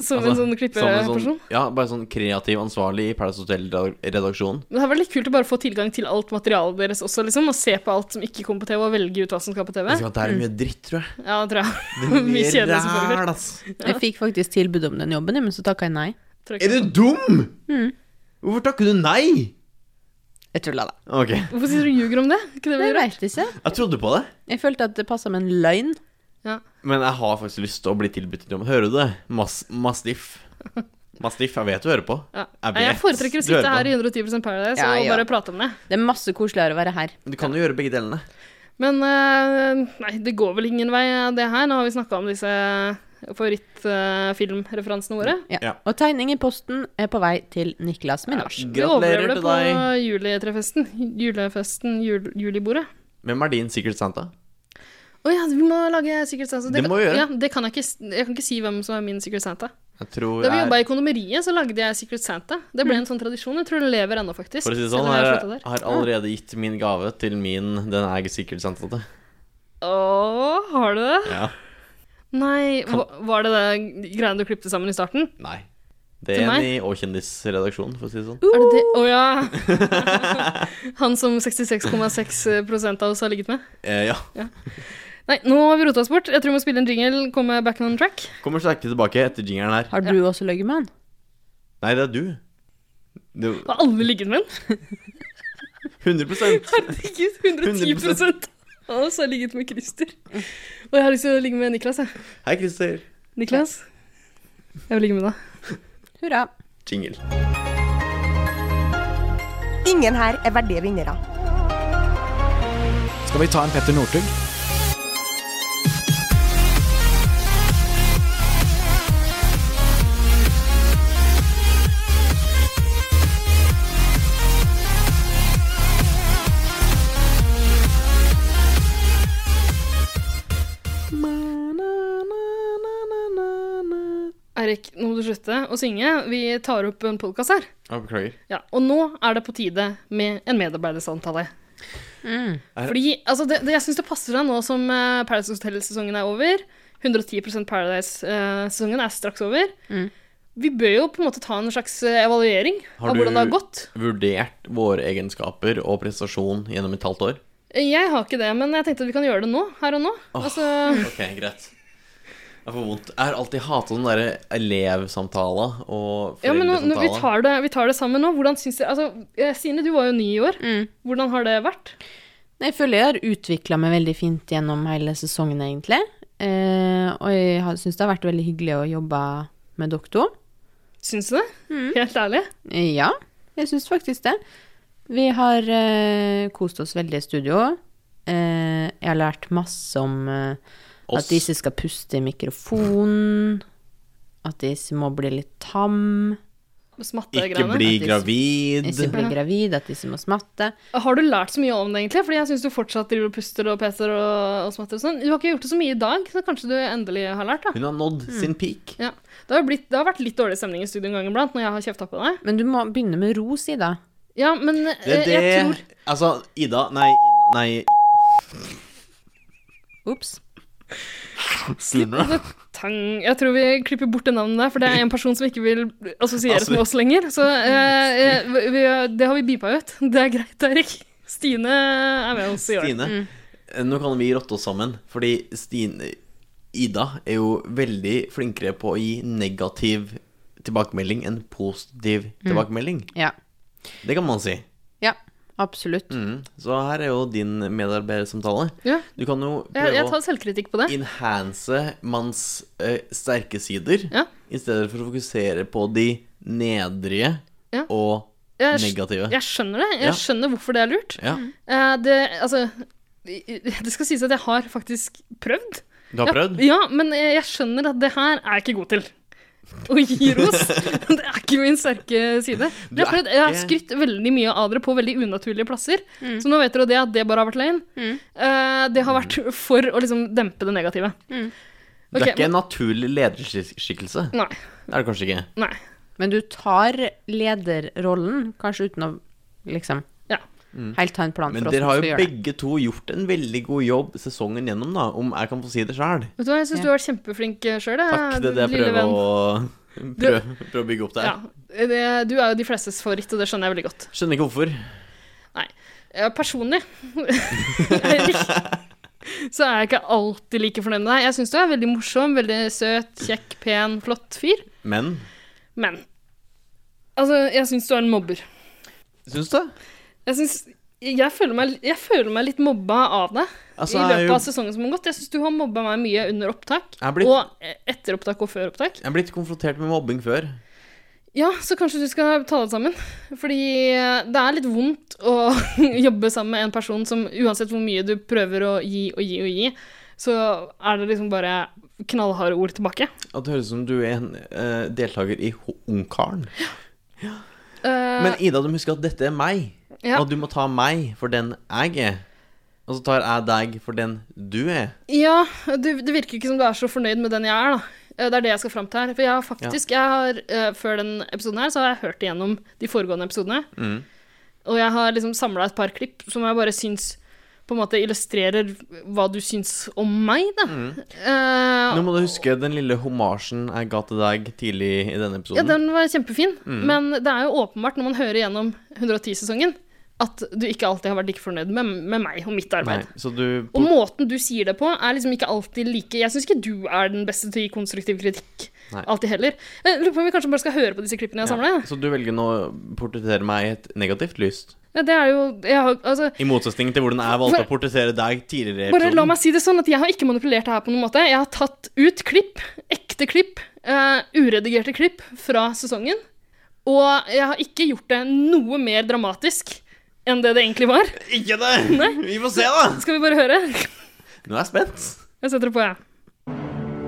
C: Som en sånn
D: Altså, som en sånn-
C: klippeperson.
D: Ja, bare sånn kreativ ansvarlig i Paradise Hotel-redaksjonen.
C: Men det hadde vært litt kult å bare få tilgang til alt materialet deres også, liksom. Og se på alt som ikke kom på TV, og velge ut hva som skal på TV.
D: Jeg vet ikke at Det er mye dritt, tror jeg.
C: Ja, det tror jeg.
D: Det er
C: Mm. *laughs* Mye
D: mye
C: kjedelig som foregår.
D: ræl, ass.
B: Jeg fikk faktisk tilbud om den jobben, men så takka jeg nei.
C: Tror jeg
D: Er
C: ikke.
D: du dum?!
B: Mm.
D: Hvorfor takker du nei?
B: Jeg tulla, da.
D: Ok.
C: Hvorfor sier du ljuger om det? Ikke
B: Jeg
C: det blir
B: veit
C: rart.
B: ikke.
D: Jeg trodde på det,
B: Jeg følte at det passa med en løgn.
D: men jeg har faktisk lyst til å bli tilbudt en jobb. Hører du det? Mas Mastiff.
C: *laughs*
D: Mastiff, jeg vet du hører på.
C: Ja.
D: Jeg
C: Nei, Jeg
D: vet
C: foretrekker å
D: du hører
C: sitte
D: på.
C: her i 110 Paradise
D: Ja,
C: og
D: ja.
C: bare prate om det.
B: Det er masse koseligere å være her.
D: Du kan jo gjøre begge delene.
C: Men eh, nei, det går vel ingen vei av det her. Nå har vi snakka om disse favorittfilmreferansene våre.
B: Ja. Og tegning i posten er på vei til Niklas Minasj.
C: Vi overlever det på juletrefesten. Julefesten, jul, julibordet.
D: Hvem er din Secret Santa?
C: Å ja, vi må lage Secret Santa.
D: Det må vi gjøre.
C: Ja, det kan jeg, ikke, s- jeg kan ikke si hvem som er min Secret Santa.
D: Jeg tror
C: Da vi
D: jeg-
C: jobba i kondomeriet, så lagde jeg Secret Santa. Det ble en sånn tradisjon. Jeg tror det lever ennå, faktisk.
D: For å si det
C: selv
D: sånn,
C: om jeg har
D: jeg
C: sluttet der.
D: har allerede gitt min gave til min Den er ikke Secret Santa til.
C: Å, har du det?
D: Ja.
C: Nei, hva- var det det greiene du klippte sammen i starten?
D: Nei. Det
C: Til
D: er en
C: meg? Uh,
D: i Og kjendisredaksjonen, for å si det sånn.
C: Er det det? Å ja!
D: *laughs*
C: Han som 66,6 av oss har ligget med?
D: Eh, ja.
C: Nei, nå har vi rota oss bort. Jeg tror vi må spille en jingle, komme back on track.
D: Kommer sterkere tilbake etter jingeren her.
B: Har du også løyet med han?
D: Nei, det er du. Du
C: Har alle ligget med en?
D: 100
C: Herregud, 110 av oss har ligget med Christer. Og jeg har lyst til å ligge med Niklas, jeg.
D: Hei, Christer.
C: Niklas, jeg vil ligge med deg.
B: Hurra.
D: Jingle.
M: Ingen her er verdige vinnere.
L: Skal vi ta en Petter Northug?
C: Eirik, nå må du slutte å synge. Vi tar opp en podkast her.
D: Jeg beklager.
C: Ja, og nå er det på tide med en medarbeidersamtale. Fordi, altså, det, det, jeg syns det passer deg nå som eh, Paradise Hotel-sesongen er over. 110 Paradise-sesongen eh, er straks over. Vi bør jo på en måte ta en slags eh, evaluering av hvordan det har gått.
D: vurdert våre egenskaper og prestasjon gjennom et halvt år?
C: Jeg har ikke det, men jeg tenkte at vi kan gjøre det nå. Her og nå.
D: Åh,
C: altså,
D: Ok, greit. Jeg får vondt. Jeg har alltid hata sånne derre elevsamtaler og
C: ja, men nå, nå, vi,
D: foreldresamtaler.
C: tar det, vi tar det sammen nå. Hvordan syns dere altså, eh, Stine, du var jo ny i år. Hvordan har det vært?
B: Jeg føler jeg har utvikla meg veldig fint gjennom hele sesongen, egentlig. Eh, og jeg syns det har vært veldig hyggelig å jobbe med dere to.
C: Syns du det? Helt ærlig?
B: Eh, Ja, jeg syns faktisk det. Vi har eh, kost oss veldig i studio. Eh, jeg har lært masse om eh,
I: Oss.
B: at disse skal puste i mikrofonen. At disse må bli litt tam.
C: Smattegreiene.
D: bli gravid.
B: Ikke bli gravid, at disse må smatte.
C: Har du lært så mye om det, egentlig? Fordi jeg syns du fortsatt driver og puster og peser og, og smatter og sånn. Du har ikke gjort det så mye i dag, så kanskje du endelig har lært, da.
D: Hun har nådd
C: Mm.
D: sin peak.
C: Ja. Det, har jo blitt, det har vært litt dårlig stemning i studio en gang iblant når jeg har kjefta på deg.
B: Men du må begynne med ro, Sida.
C: Ja, men eh,
D: Det er det
C: jeg tror
D: Altså, Ida Nei, nei
B: Ops.
D: Slimmer, da.
C: Tang. Jeg tror vi klipper bort det navnet der, for det er en person som ikke vil assosieres
D: Altså-
C: med oss lenger. Så eh, eh, vi- vi, det har vi beepa ut. Det er greit, Erik. Stine er med oss i år.
D: *laughs* Stine.
C: Mm.
D: eh, Nå kan vi rotte oss sammen, fordi Stine Ida er jo veldig flinkere på å gi negativ tilbakemelding enn positiv
C: Mm.
D: tilbakemelding.
B: Ja.
D: Det kan man si.
B: Ja, absolutt.
D: Mm. Så her er jo din medarbeidersamtale.
C: Ja.
D: Du kan jo
C: Jeg,
D: prøve
C: jeg tar selvkritikk på det.
D: enhance manns eh, sterke sider,
C: Ja.
D: i stedet for å fokusere på de nedrige
C: Ja.
D: og
C: Jeg,
D: negative.
C: jeg skjønner det.
D: Ja.
C: Jeg skjønner hvorfor det er lurt.
D: Ja.
C: Eh, det, altså, det skal sies at jeg har faktisk prøvd.
D: Du har
C: Ja,
D: prøvd?
C: Ja, men eh, jeg skjønner at det her er jeg ikke god til. Å
D: *laughs*
C: gi ros. Det er ikke min sterke side. Men
K: Du
C: Jeg har,
K: er
C: prøvd, jeg har
K: ikke-
C: skrytt veldig mye av dere på veldig unaturlige plasser. Så nå vet dere det at det bare har vært løgn. Eh, det har vært for å liksom dempe det negative.
D: Du er
C: Ok,
D: ikke en naturlig lederskikkelse.
C: Nei.
D: Det er du kanskje ikke.
C: Nei.
B: Men du tar lederrollen, kanskje uten å liksom
C: Ja.
D: Mm.
B: helt ta en plan
D: Men
B: for
D: dere
B: hvordan
D: har
B: du skal
D: jo
B: gjøre det.
D: begge to gjort en veldig god jobb sesongen gjennom, da, om jeg kan få si det sjøl.
C: Vet du hva, jeg syns du har vært kjempeflink eh, sjøl,
D: Takk, det er det jeg prøver å, prøv, prøver å bygge opp der.
C: Ja, Eh, det, du er jo de flestes favoritt, og det skjønner jeg veldig godt.
D: Skjønner ikke hvorfor.
C: Nei. Eh, Personlig *laughs* Eirik, så er jeg ikke alltid like fornøyd med deg. Jeg syns du er veldig morsom, veldig søt, kjekk, pen, flott fyr.
D: Men
C: Men Altså, jeg syns du er en mobber.
D: Syns du?
C: Jeg syns jeg føler, meg, jeg føler meg litt mobba av deg
D: Altså,
C: i
D: jeg er
C: løpet
D: jo-
C: av sesongen som har gått. Jeg syns du har mobba meg mye under opptak.
D: Jeg er blitt-
C: Og eh, etter opptak og før opptak.
D: Jeg er blitt konfrontert med mobbing før.
C: Ja, så kanskje du skal ta det sammen. Fordi eh, det er litt vondt å *laughs* jobbe sammen med en person som uansett hvor mye du prøver å gi og gi og gi, så er det liksom bare knallharde ord tilbake.
D: At det høres ut som du er en eh, deltaker i Ho- Ungkaren.
C: Eh,
D: Men Ida, du må huske at dette er meg,
C: Ja.
D: og du må ta meg for den jeg er. Og så tar jeg deg for den du er.
C: Ja, du, det virker ikke som du er så fornøyd med den jeg er, da. Eh, Det er det jeg skal fram til her. For jeg har faktisk, jeg har, eh, før den episoden her, så har jeg hørt igjennom de foregående episodene.
K: Mm.
C: Og jeg har liksom samla et par klipp som jeg bare syns på en måte illustrerer hva du syns om meg, da.
D: Mm.
C: Eh,
D: Nå må du huske den lille homasjen jeg ga til deg tidlig i denne
C: ja,
D: episoden.
C: den var kjempefin,
D: Mm.
C: men det er jo åpenbart når man hører gjennom 110-sesongen, at du ikke alltid har vært like fornøyd med, med meg og mitt arbeid.
D: Nei, så du
C: Og måten du sier det på, er liksom ikke alltid like Jeg syns ikke du er den beste til å gi konstruktiv kritikk.
D: Nei.
C: Alltid heller. Jeg lurer på om vi kanskje bare skal høre på disse klippene jeg har samla.
D: Ja, Så du velger nå å portrettere meg i et negativt lys?
C: Ja, det er jo jeg har, altså,
D: I motsetning til hvordan jeg valgte
C: Bare-
D: å portrettere deg tidligere i
C: Bare la
D: episoden.
C: meg si det sånn at jeg har ikke manipulert det her på noen måte. Jeg har tatt ut klipp, ekte klipp, eh, uredigerte klipp fra sesongen. Og jeg har ikke gjort det noe mer dramatisk enn det det egentlig var.
D: Ikke det!
C: Nei.
D: Vi får se, da!
C: Skal vi bare høre?
D: Nå er jeg spent.
C: Jeg setter det på, jeg.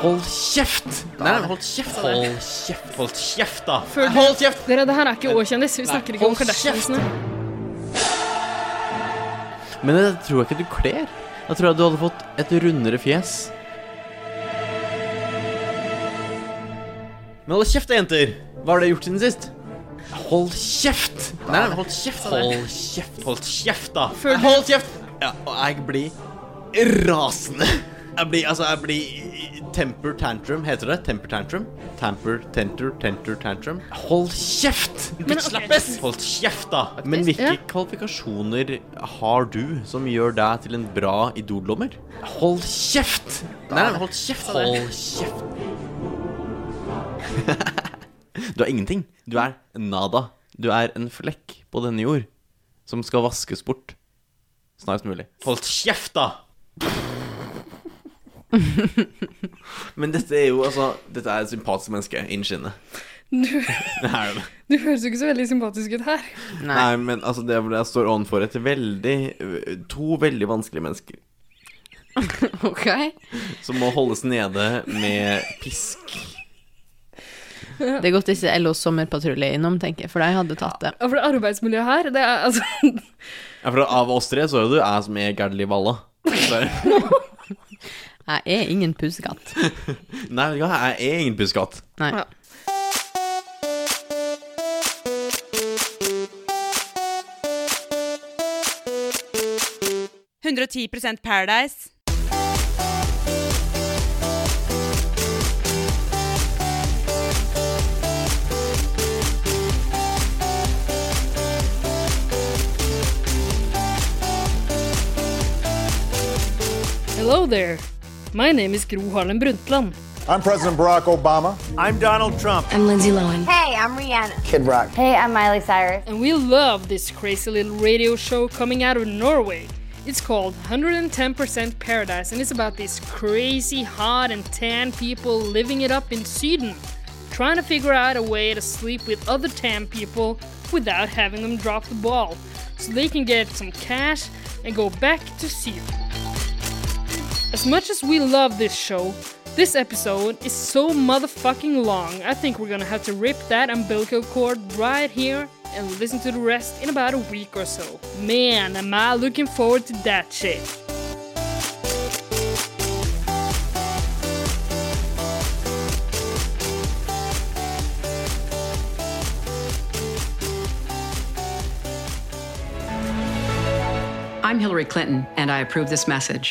D: Hold kjeft! Nei, nei, hold kjeft.
C: Sa det.
D: Hold kjeft, hold kjeft da.
C: Føl-
D: Hold kjeft!
C: Dere, det her er ikke Å-kjendis. Vi
D: Nei,
C: snakker ikke om
D: hold kjeft!
C: Kardashiansene.
D: Men det tror jeg ikke du kler. Da tror jeg du hadde fått et rundere fjes. Men hold kjeft, da, jenter! Hva har dere gjort siden sist? Hold kjeft! Nei, nei, hold kjeft.
C: det.
D: Hold kjeft, hold kjeft, da.
C: Føl-
D: Hold kjeft! Ja, og jeg blir rasende. Jeg blir, altså, jeg blir temper tantrum. Heter det temper tantrum? Tamper, tenter, tenter, tantrum. Hold kjeft!
C: Men, ok.
D: Slappes! Hold kjeft, da! Men hvilke
C: Ja.
D: kvalifikasjoner har du som gjør deg til en bra idoldommer? Hold kjeft! Nei, nei, hold kjeft.
C: det.
D: Hold kjeft. *laughs* Du er ingenting. Du er nada. Du er en flekk på denne jord som skal vaskes bort snarest mulig. Hold kjeft, da! Men dette er jo altså Dette er et sympatisk menneske innen skinnet.
C: Du,
D: *laughs* Det er det.
C: du høres jo ikke så veldig sympatisk ut her.
D: Nei. men altså, det er fordi jeg står ovenfor et veldig To veldig vanskelige mennesker
B: Ok.
D: som må holdes nede med pisk.
B: Det er godt disse LOs sommerpatrulje er innom, tenker jeg, for de hadde tatt det.
C: Ja, For det arbeidsmiljøet her, det er altså
D: Ja, for av oss tre så er det jo jeg som er Gerd Liv *laughs* Valla. Så-
B: Jeg er ingen pusekatt.
D: Nei, vet du hva, jeg er ingen puskatt.
B: Nei.
A: Paradise. 110 Paradise.
C: Hello there. My name is Gro Harlem Brundtland.
N: I'm President Barack Obama. I'm Donald Trump.
C: I'm Lindsay Lohan.
M: Hey, I'm Rihanna.
N: Kid Rock.
M: Hey, I'm Miley Cyrus.
C: And we love this crazy little radio show coming out of Norway. It's called 110% Paradise and it's about these crazy hot and tan people living it up in Sweden, trying to figure out a way to sleep with other tan people without having them drop the ball so they can get some cash and go back to Sweden. As much as we love this show, this episode is so motherfucking long. I think we're gonna have to rip that umbilical cord right here and listen to the rest in about a week or so. Man, am I looking forward to that shit.
O: I'm Hillary Clinton, and I approve this message.